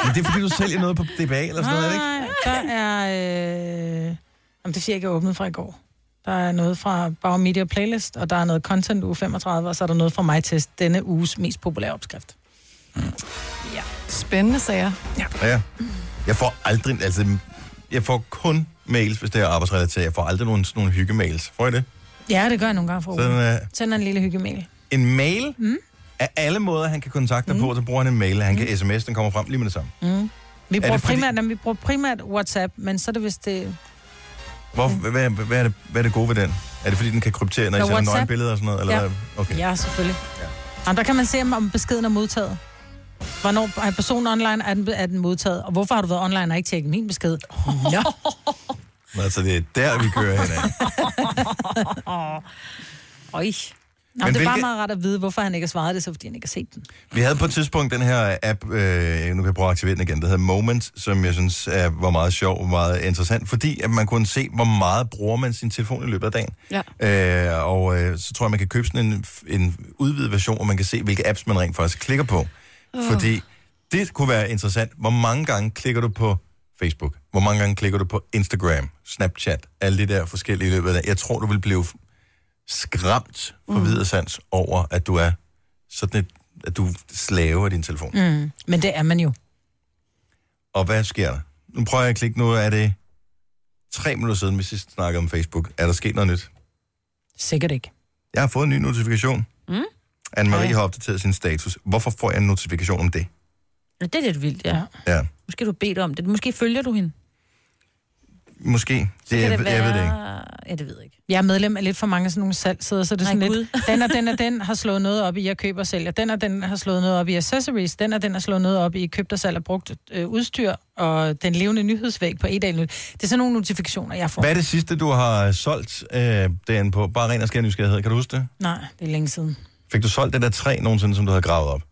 Speaker 1: Men det er, fordi du sælger noget på DBA eller sådan noget, er det ikke?
Speaker 2: Nej, der er... Øh, jamen, det er fordi, jeg ikke er åbnet fra i går. Der er noget fra Bauer Media Playlist, og der er noget Content uge 35, og så er der noget fra mig til denne uges mest populære opskrift.
Speaker 4: Spændende sager.
Speaker 1: Ah. Ja. Jeg får aldrig, altså, jeg får kun mails, hvis det er arbejdsrelateret. Jeg får aldrig nogen, sådan nogle hyggemails. Får I det?
Speaker 2: Ja, det gør jeg nogle gange for
Speaker 1: Sådan,
Speaker 2: Ole.
Speaker 1: øh,
Speaker 2: Sender en lille hyggemail.
Speaker 1: en mail mm. af alle måder, han kan kontakte
Speaker 2: Mm.
Speaker 1: dig på, så bruger han en mail. Han kan sms, den kommer frem lige med det samme.
Speaker 2: Vi bruger,
Speaker 1: det fordi-
Speaker 2: primært, jamen, vi bruger primært WhatsApp, men så er det, hvis det...
Speaker 1: Hvor, hvad, hvad, er det, hvad er det gode ved den? Er det, fordi den kan kryptere, når I
Speaker 2: Nå,
Speaker 1: sender
Speaker 2: WhatsApp?
Speaker 1: nøgenbilleder og sådan noget? Eller
Speaker 2: Ja.
Speaker 1: hvad? Okay.
Speaker 2: Ja, selvfølgelig. Ja. Jamen, der kan man se, om- om beskeden er modtaget. Hvornår er personen online, er den, er den modtaget? Og hvorfor har du været online og ikke tjekket min besked? Nå.
Speaker 1: Men Altså, det er der, vi kører hen af.
Speaker 10: Øj.
Speaker 2: Nå, men det er bare
Speaker 1: hvilke-
Speaker 2: meget rart at vide, hvorfor han ikke har svaret det, så fordi han ikke har set den.
Speaker 1: Vi havde på et tidspunkt den her app, øh, nu kan jeg prøve at aktivere den igen, der hedder Moments, som jeg synes er, var meget sjov og meget interessant, fordi at man kunne se, hvor meget bruger man sin telefon i løbet af dagen.
Speaker 4: Ja.
Speaker 1: Øh, og øh, så tror jeg, man kan købe sådan en, en udvidet version, hvor man kan se, hvilke apps man rent faktisk klikker på. Oh. Fordi det kunne være interessant. Hvor mange gange klikker du på Facebook? Hvor mange gange klikker du på Instagram, Snapchat, alle de der forskellige i løbet af dagen? Jeg tror, du vil blive skræmt for mm. videre sans over, at du er sådan et, at du er slave af din telefon. Mm.
Speaker 2: Men det er man jo.
Speaker 1: Og hvad sker der? Nu prøver jeg at klikke, nu er det tre minutter siden, vi sidst snakkede om Facebook. Er der sket noget nyt?
Speaker 2: Sikkert ikke.
Speaker 1: Jeg har fået en ny notifikation. Mm. Anne-Marie har opdateret sin status. Hvorfor får jeg en notifikation om det?
Speaker 10: Nå, Det er lidt vildt, ja.
Speaker 1: Ja,
Speaker 10: Måske du bedt om det. Måske følger du hende.
Speaker 1: måske. Det, jeg, jeg ved det ikke.
Speaker 10: Ja, det ved jeg ikke.
Speaker 2: Jeg er medlem af lidt for mange sådan nogle salgsider, så det er sådan
Speaker 10: Nej,
Speaker 2: lidt, den og den og den har slået noget op i, jeg køber og sælger. Den og den har slået noget op i accessories. Den og den har slået noget op i købt og salg og brugt øh, udstyr. Og den levende nyhedsvæg på e-dag. Det er sådan nogle notifikationer, jeg får.
Speaker 1: Hvad er det sidste, du har solgt øh, den på? Bare ren og skær nysgerrighed. Kan du huske det?
Speaker 2: Nej, det er længe siden.
Speaker 1: Fik du solgt det der træ nogensinde, som du havde gravet op?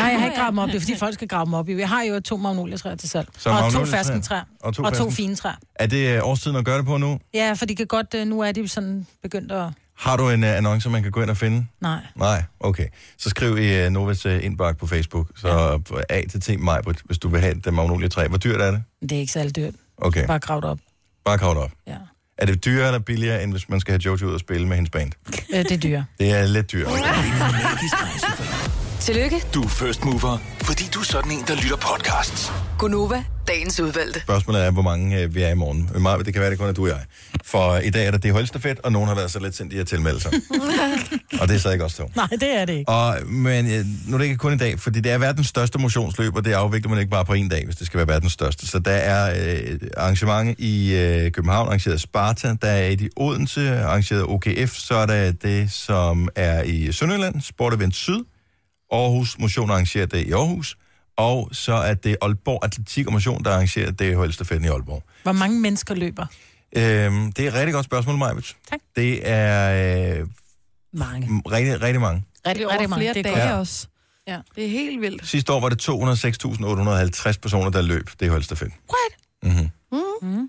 Speaker 2: Nej, jeg har ikke gravet dem op. Det er, fordi folk skal grave dem op i. Jeg har jo to magnolietræer til salg.
Speaker 1: Så
Speaker 2: og to
Speaker 1: magnolietræer.
Speaker 2: ferskentræer.
Speaker 1: Og to
Speaker 2: Og to
Speaker 1: fersken-
Speaker 2: fine træer.
Speaker 1: Er det øh, årstiden at gøre det på nu?
Speaker 2: Ja, for de kan godt... øh, Nu er de sådan begyndt at...
Speaker 1: Har du en uh, annonce, man kan gå ind og finde?
Speaker 2: Nej.
Speaker 1: Nej, okay. Så skriv i uh, Novas uh, indbakke på Facebook. Så ja. A til T Majbrit, hvis du vil have det magnolie træ. Hvor dyrt er det?
Speaker 2: Det er ikke særlig dyrt.
Speaker 1: Okay,
Speaker 2: Bare grav det op.
Speaker 1: bare krav det op.
Speaker 2: Ja.
Speaker 1: Er det dyrere eller billigere, end hvis man skal have Jojo ud og spille med hendes band?
Speaker 2: Øh, det er dyre.
Speaker 1: Det er lidt dyrere.
Speaker 6: Tillykke,
Speaker 5: Du er first mover, fordi du er sådan en, der lytter podcasts.
Speaker 6: Gunova, dagens udvalgte.
Speaker 1: Spørgsmålet er, hvor mange øh, vi er i morgen. Øh, Maja, det kan være, det kun er du og jeg. For i dag er der det holdstafet, og nogen har været så lidt sindige at tilmelde sig. og det er så ikke også to.
Speaker 2: Nej, det er det ikke.
Speaker 1: Og, men øh, nu er det ikke kun i dag, fordi det er verdens største motionsløb, og det afvikler man ikke bare på en dag, hvis det skal være verdens største. Så der er øh, arrangement i øh, København, arrangeret af Sparta, der er et i Odense, arrangeret af OKF, så er der det, som er i Sønderjylland, Sport Event Syd, Aarhus Motion arrangerer det i Aarhus, og så er det Aalborg Atletik og Motion, der arrangerer det holdstafetten i Aalborg.
Speaker 2: Hvor mange mennesker løber?
Speaker 1: Øhm, det er et rigtig godt spørgsmål, Majvits.
Speaker 2: Tak.
Speaker 1: Det er øh,
Speaker 10: Mange.
Speaker 1: rigtig, rigtig mange.
Speaker 4: Det er over
Speaker 2: rigtig mange.
Speaker 4: flere
Speaker 2: Det er
Speaker 4: dage
Speaker 1: godt.
Speaker 4: også.
Speaker 2: Ja.
Speaker 4: Det er helt vildt.
Speaker 1: Sidste år var det 206.850 personer, der løb det holdstafet. What? Mm-hmm.
Speaker 10: Mm.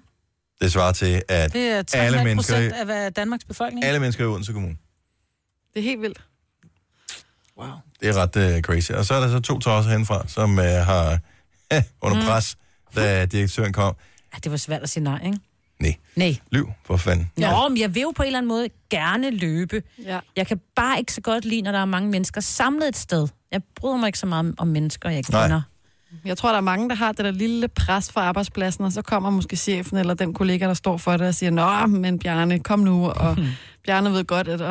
Speaker 1: Det svarer til, at
Speaker 2: Det er
Speaker 1: Alle
Speaker 2: 3,5
Speaker 1: mennesker i-
Speaker 2: procent af hvad Danmarks befolkning.
Speaker 1: alle mennesker i Odense Kommune.
Speaker 4: Det er helt vildt.
Speaker 2: Wow.
Speaker 1: Det er ret uh, crazy. Og så er der så to tosser henfra, som uh, har uh, under
Speaker 10: Mm.
Speaker 1: pres, da direktøren kom.
Speaker 10: Ja, det var svært at sige nej, ikke?
Speaker 1: Nej,
Speaker 10: Nej.
Speaker 1: lyv, for fanden.
Speaker 10: Nå, men jeg vil jo på en eller anden måde gerne løbe.
Speaker 4: Ja.
Speaker 10: Jeg kan bare ikke så godt lide, når der er mange mennesker samlet et sted. Jeg bryder mig ikke så meget om- om mennesker, jeg
Speaker 1: Nej.
Speaker 10: kender. Nej.
Speaker 4: Jeg tror, der er mange, der har det der lille pres fra arbejdspladsen, og så kommer måske chefen eller den kollega, der står for det, og siger, Nå, men Bjarne, kom nu, og Bjarne ved godt, at... Åh,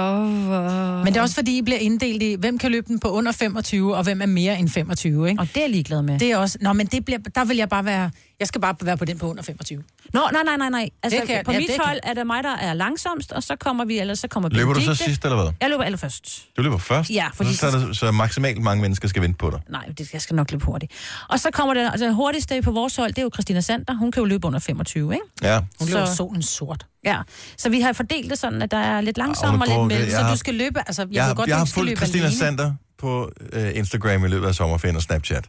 Speaker 4: hvor-
Speaker 2: Hmm. Men det er også fordi, I bliver inddelt i, hvem kan løbe den på under 25, og hvem er mere end 25, ikke?
Speaker 10: Og det er jeg ligeglad med.
Speaker 2: Det er også... Nå, men det bliver, der vil jeg bare være... Jeg skal bare være på den på under 25.
Speaker 10: Nå, nej, nej, nej, nej. Altså,
Speaker 2: Det kan-
Speaker 10: på
Speaker 2: ja,
Speaker 10: mit
Speaker 2: det kan-
Speaker 10: hold er det mig, der er langsomst, og så kommer vi, eller så kommer vi
Speaker 1: Løber du så sidst, eller hvad?
Speaker 10: Jeg løber allerførst.
Speaker 1: Du løber først,
Speaker 10: Ja,
Speaker 1: fordi...
Speaker 10: fordi
Speaker 1: så, så, er der, så maksimalt mange mennesker skal vente på dig.
Speaker 10: Nej, det, jeg skal nok løbe hurtigt. Og så kommer den, altså, den hurtigste på vores hold, det er jo Christina Sander. Hun kan jo løbe under 25, ikke?
Speaker 1: Ja.
Speaker 2: Hun løber solen sort.
Speaker 10: Ja, så vi har fordelt det sådan, at der er lidt
Speaker 1: Åh,
Speaker 10: langsommere og
Speaker 1: nu
Speaker 10: lidt
Speaker 1: går det.
Speaker 10: mellem.
Speaker 1: Jeg
Speaker 10: Så
Speaker 1: har-
Speaker 10: du skal løbe, altså jeg,
Speaker 1: Jeg,
Speaker 10: ved
Speaker 1: jeg,
Speaker 10: godt,
Speaker 1: jeg
Speaker 10: du
Speaker 1: har
Speaker 10: ikke skal
Speaker 1: fulgt
Speaker 10: løbe
Speaker 1: Christina
Speaker 10: alene.
Speaker 1: Sander på øh, Instagram i løbet af sommerferien og Snapchat.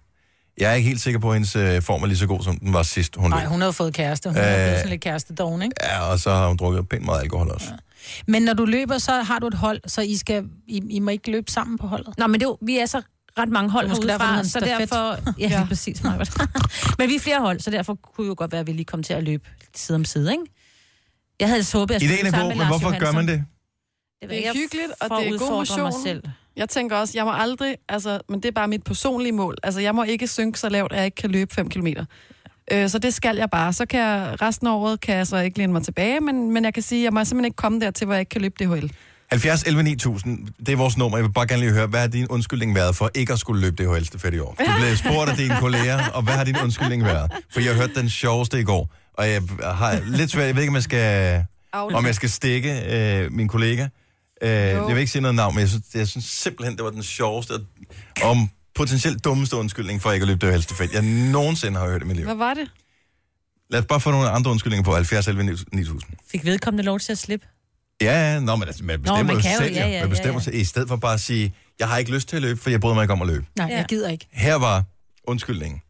Speaker 1: Jeg er ikke helt sikker på, at hendes øh, form er lige så god, som den var sidst, hun løb.
Speaker 2: Nej, hun har jo fået kæreste. Hun øh...
Speaker 1: Øh.
Speaker 2: er blevet sådan lidt kæreste dogen, ikke?
Speaker 1: Ja, og så har hun drukket pænt meget alkohol også. Ja. Altså,
Speaker 2: Men når du løber, så har du et hold, så I, skal, I, I må ikke løbe sammen på holdet.
Speaker 10: Nå, men det er jo, vi er så ret mange hold
Speaker 2: Det er måske derfor,
Speaker 10: herudefra,
Speaker 2: den
Speaker 10: så
Speaker 2: hedder en
Speaker 10: derfor... Ja, ja. præcis, Marvitt. Men vi er flere hold, så derfor kunne jo godt være, at vi lige kom til at løbe side om side, ikke? Jeg havde altså håbet, at jeg
Speaker 1: Ideen er god, men hvorfor gør man det?
Speaker 10: Det,
Speaker 4: Det er hyggeligt, og det er god
Speaker 10: mig
Speaker 4: motion.
Speaker 10: selv.
Speaker 4: Jeg tænker også, jeg må aldrig, altså, men det er bare mit personlige mål. Altså, jeg må ikke synke så lavt, at jeg ikke kan løbe 5 km. Øh, så det skal jeg bare. Så kan jeg, resten af året kan jeg så ikke læne mig tilbage, men, men jeg kan sige, at jeg må simpelthen ikke komme dertil, hvor jeg ikke kan løbe DHL.
Speaker 1: 70 11 9000, det er vores nummer. Jeg vil bare gerne lige høre, hvad har din undskyldning været for ikke at skulle løbe det højeste fedt i år? Du blev spurgt af dine kolleger, og hvad har din undskyldning været? For jeg hørte den sjoveste i går, og jeg har lidt svært, jeg ved ikke, om jeg skal, om jeg skal stikke øh, min kollega. Øh, jeg vil ikke sige noget navn, men jeg synes, jeg synes simpelthen, det var den sjoveste og- om potentielt dummeste undskyldning for ikke at løbe det højeste fedt, jeg nogensinde har hørt i mit liv.
Speaker 4: Hvad var det?
Speaker 1: Lad os bare få nogle andre undskyldninger på 70 11 9000.
Speaker 10: Fik vedkommende lov til at slippe?
Speaker 1: Ja, ja, nå, men altså, man bestemmer Nå,
Speaker 10: man
Speaker 1: man
Speaker 10: kan jo,
Speaker 1: selv, ja, ja, man bestemmer ja, ja. sig, i stedet for bare at sige, jeg har ikke lyst til at løbe, for jeg bryder mig ikke om at løbe.
Speaker 2: Nej, ja. jeg gider ikke.
Speaker 1: Her var undskyldningen.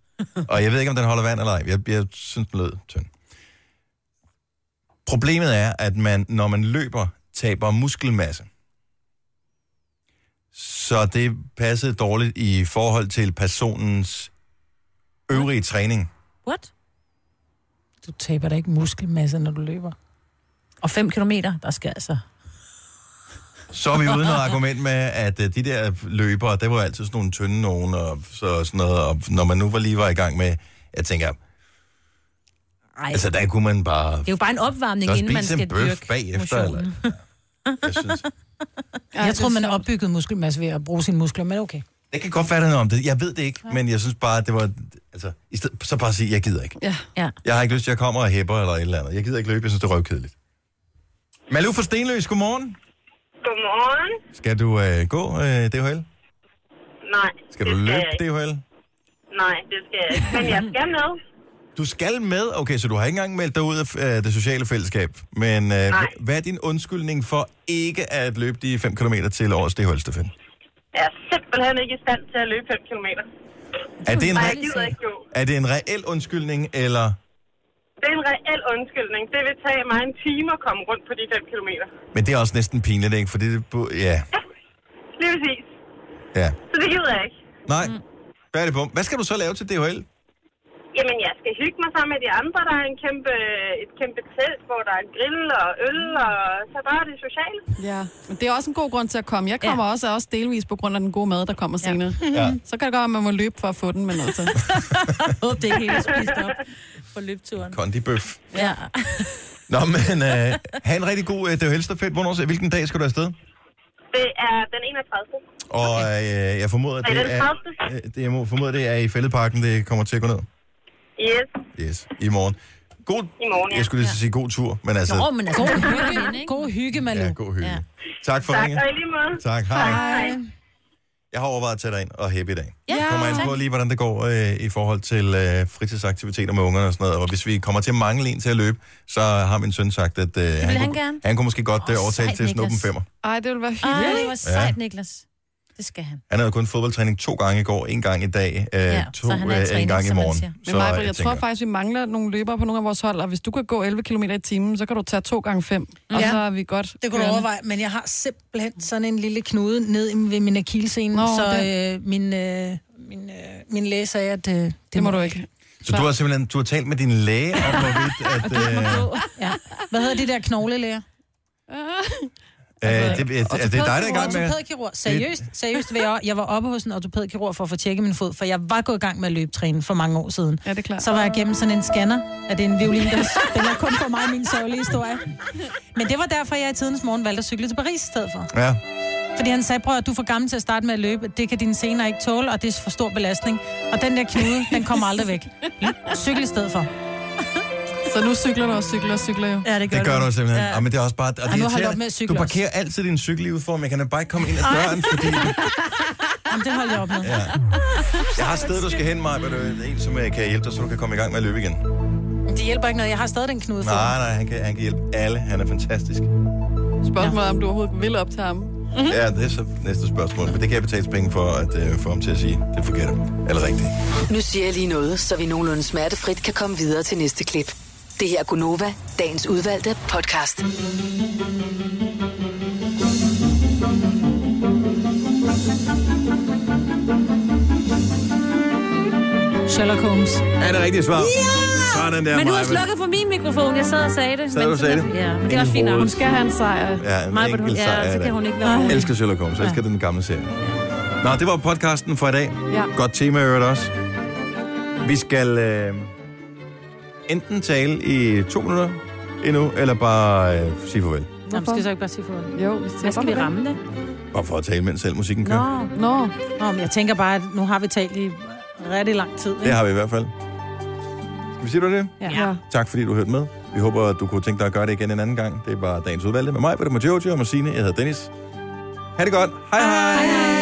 Speaker 1: Og jeg ved ikke, om den holder vand eller ej. Jeg, jeg synes, den lød tynd. Problemet er, at man, når man løber, taber muskelmasse. Så det passede dårligt i forhold til personens øvrige træning.
Speaker 10: What?
Speaker 2: Du taber da ikke muskelmasse, når du løber.
Speaker 10: Og 5 kilometer, der skal altså...
Speaker 1: Så er vi uden noget argument med, at øh, de der løbere, det var altid sådan nogle tynde nogen, og så sådan noget, og når man nu var lige var i gang med, jeg tænker,
Speaker 10: Ej,
Speaker 1: altså der kunne man bare...
Speaker 10: det er jo bare en opvarmning,
Speaker 1: Så
Speaker 10: inden man
Speaker 1: spise
Speaker 10: skal
Speaker 1: en bøf
Speaker 10: dyrke
Speaker 1: bagefter,
Speaker 10: motionen.
Speaker 1: eller- Jeg synes,
Speaker 4: Ej,
Speaker 2: jeg tror,
Speaker 4: det er
Speaker 2: man er
Speaker 4: sjovt.
Speaker 2: opbygget muskelmasse ved at bruge sine muskler, men okay.
Speaker 1: det kan godt være, der er noget om det. Jeg ved det ikke, men jeg synes bare, det var... Altså, i stedet, så bare sige, jeg gider ikke.
Speaker 4: Ja.
Speaker 10: Ja.
Speaker 1: Jeg har ikke lyst til, at jeg kommer og hæpper eller et eller andet. Jeg gider ikke løbe, jeg synes, det er røvkedeligt. Malou fra Stenløs, godmorgen.
Speaker 8: Godmorgen.
Speaker 1: Skal du øh, gå øh, DHL?
Speaker 8: Nej,
Speaker 1: Skal
Speaker 8: det
Speaker 1: du
Speaker 8: jeg
Speaker 1: løbe
Speaker 8: ikke.
Speaker 1: DHL?
Speaker 8: Nej, det skal jeg ikke. Men jeg skal med.
Speaker 1: Du skal med? Okay, så du har ikke engang meldt dig ud af øh, det sociale fællesskab. Men øh, hva- hvad er din undskyldning for ikke at løbe de 5 km til årets DHL, Stefan?
Speaker 8: Jeg er simpelthen ikke i stand til at løbe 5 km.
Speaker 1: Er det, en
Speaker 8: Nej, jeg gider
Speaker 1: re-
Speaker 8: ikke gå.
Speaker 1: er det en reel undskyldning, eller...
Speaker 8: Det er en reel undskyldning. Det vil tage mig en time at komme rundt på de 5 km.
Speaker 1: Men det er også næsten pinligt, ikke? Fordi det... bu- Ja,
Speaker 8: Lige præcis.
Speaker 1: ja.
Speaker 8: Så det gider jeg ikke.
Speaker 1: Nej. Hvad er det på? Hvad skal du så lave til DHL?
Speaker 8: Jamen, jeg skal hygge mig sammen med de andre. Der er en kæmpe, et kæmpe telt, hvor der er grill og øl, og så bare det sociale.
Speaker 4: Ja, men det er også en god grund til at komme. Jeg kommer ja. også, er også delvis på grund af den gode mad, der kommer ja. senere.
Speaker 1: Ja.
Speaker 4: Så kan det godt være, at man må løbe for at få den, men altså...
Speaker 10: Jeg håber, det er helt spist op på løbeturen.
Speaker 1: Kondibøf.
Speaker 10: Ja.
Speaker 1: Nå, men øh, have en rigtig god øh, DHL-stafet. Hvornår, hvilken dag skal du afsted?
Speaker 8: Det er den 31.
Speaker 1: Og øh, jeg formoder, at
Speaker 8: Er
Speaker 1: det
Speaker 8: det
Speaker 1: er, øh, det, jeg må, formoder, det er i fældeparken, det kommer til at gå ned.
Speaker 8: Yes,
Speaker 1: Yes, i morgen. God,
Speaker 8: i morgen, ja.
Speaker 1: jeg skulle lige så sige god tur, men altså...
Speaker 10: Nå, men altså,
Speaker 2: God
Speaker 10: det er hyggeligt,
Speaker 2: hygge,
Speaker 10: ikke?
Speaker 2: god hygge
Speaker 1: Ja,
Speaker 2: Malou.
Speaker 1: god hygge.
Speaker 10: Ja.
Speaker 1: Tak for
Speaker 8: Tak,
Speaker 1: ringen.
Speaker 8: og i lige måde.
Speaker 1: Tak, hej. hej. Jeg har overvejet at tage dig ind og hæppe i dag.
Speaker 10: Ja,
Speaker 1: Kommer ind på lige, hvordan det går øh, i forhold til øh, fritidsaktiviteter med ungerne og sådan noget. Og hvis vi kommer til at mangle en til at løbe, så har min søn sagt, at øh, han,
Speaker 10: han
Speaker 1: kunne,
Speaker 10: gerne.
Speaker 1: han kunne måske godt øh,
Speaker 10: Åh,
Speaker 1: overtale
Speaker 10: sejt,
Speaker 1: til at snuppe en
Speaker 10: Niklas.
Speaker 1: femmer.
Speaker 4: Ej, det ville være
Speaker 10: Ej,
Speaker 4: hyggeligt.
Speaker 10: det var sejt, Niklas. Det skal han.
Speaker 1: Han havde kun fodboldtræning to gange i går, en gang i dag, øh,
Speaker 10: Ja,
Speaker 1: ja,
Speaker 10: så
Speaker 1: to
Speaker 10: han er i
Speaker 1: øh, en
Speaker 10: træning,
Speaker 1: gang i
Speaker 10: som man
Speaker 1: morgen. øh,
Speaker 10: siger.
Speaker 4: Men Maja, jeg, jeg
Speaker 1: tænker,
Speaker 4: tror faktisk, vi mangler nogle løbere på nogle af vores hold, og hvis du kan gå 11 km i timen, så kan du tage 2 gange 5, og
Speaker 2: Ja.
Speaker 4: så er vi godt.
Speaker 2: Det kunne du
Speaker 4: kørende.
Speaker 2: overveje, men jeg har simpelthen sådan en lille knude ned i- ved min akilscene,
Speaker 4: Nå,
Speaker 2: så
Speaker 4: den.
Speaker 2: øh, min, øh, min, øh, min læge sagde, at øh, det,
Speaker 4: Det må du ikke.
Speaker 1: Så du har simpelthen du har talt med din læge om, hvorvidt, at, øh,
Speaker 2: Ja. Hvad hedder de der knoglelæger?
Speaker 1: Øh, det, det, det, det er dig, der er i gang med...
Speaker 2: Ortopædkirurg. Seriøst, seriøst vil jeg, også- jeg var oppe hos en ortopædkirurg for at få tjekket min fod, for jeg var gået i gang med at løbe træne for mange år siden.
Speaker 4: Ja, det er klart.
Speaker 2: Så var jeg gennem sådan en scanner, at det er en violin, der spiller kun for mig og min sørgelige historie. Men det var derfor, jeg i tidens morgen valgte at cykle til Paris i stedet for.
Speaker 1: Ja.
Speaker 2: Fordi han sagde, prøv at du er for gammel til at starte med at løbe. Det kan dine sener ikke tåle, og det er for stor belastning. Og den der knude, den kommer aldrig væk. Cykel i stedet for.
Speaker 4: Så nu cykler du og cykler og cykler jo.
Speaker 10: Ja, det
Speaker 1: Det gør du simpelthen. Ja. Og, men det er også bare... Og det
Speaker 2: nu
Speaker 1: er
Speaker 2: holdt
Speaker 1: irriterende.
Speaker 2: op med at cykle
Speaker 1: Du
Speaker 2: også.
Speaker 1: parkerer altid din cykel i udform. Jeg kan da bare ikke komme ind ad døren, fordi...
Speaker 2: Jamen, det holdt jeg op med.
Speaker 1: Ja. Jeg har et sted, du skal hen, mig, men det er en, som øh, kan hjælpe dig, så du kan komme i gang med at løbe igen.
Speaker 2: Men det hjælper ikke noget. Jeg har stadig den knude for.
Speaker 1: Nej, nej, han kan, han kan hjælpe alle. Han er fantastisk.
Speaker 4: Spørgsmålet er, om du overhovedet vil op til ham.
Speaker 1: Ja, det er så næste spørgsmål. Men det kan jeg betales penge for, at øh, få ham til at sige, det er forkert eller rigtigt.
Speaker 6: Nu siger jeg lige noget, så vi nogenlunde smertefrit kan komme videre til næste klip. Det her er Gunova, dagens udvalgte podcast.
Speaker 2: Sherlock Holmes.
Speaker 1: Er det rigtigt svar? Ja! Sådan der,
Speaker 3: Men du har
Speaker 1: Maja.
Speaker 3: slukket for min mikrofon. Jeg sad og sagde det.
Speaker 1: Sad du og sagde det?
Speaker 3: Ja, men det
Speaker 1: Ind
Speaker 3: er
Speaker 1: i
Speaker 3: også fint nok.
Speaker 1: hovedet.
Speaker 4: Hun skal have en sejr.
Speaker 1: Ja, en
Speaker 3: Maja,
Speaker 1: enkelt
Speaker 3: hun- ja,
Speaker 1: sejr
Speaker 3: så
Speaker 1: er
Speaker 3: kan
Speaker 1: der.
Speaker 3: hun ikke være-
Speaker 1: Jeg elsker Sherlock Holmes, jeg elsker den gamle serie. Nå, det var podcasten for i dag.
Speaker 4: Ja.
Speaker 1: Godt tema i øvrigt også. Vi skal øh, enten tale i to minutter endnu, eller bare øh, sige farvel.
Speaker 2: Jamen, skal jeg så ikke bare sige for
Speaker 4: Jo, hvis det
Speaker 3: Hvad skal vi ramme det?
Speaker 1: Bare for at tale, mens selv musikken kører.
Speaker 3: Nå,
Speaker 4: Nå,
Speaker 2: Nå, men jeg tænker bare, at nu har vi talt i rigtig lang tid. Ikke?
Speaker 1: Det har vi i hvert fald. Skal vi sige det var det?
Speaker 2: Ja.
Speaker 4: ja.
Speaker 1: Tak fordi du hørte med. Vi håber, at du kunne tænke dig at gøre det igen en
Speaker 3: Ah,
Speaker 1: anden gang. Det var dagens udvalgte med mig, Peter Jojo og med Signe. Jeg hedder Dennis. Ha' det godt. Hej hej. hej, hej.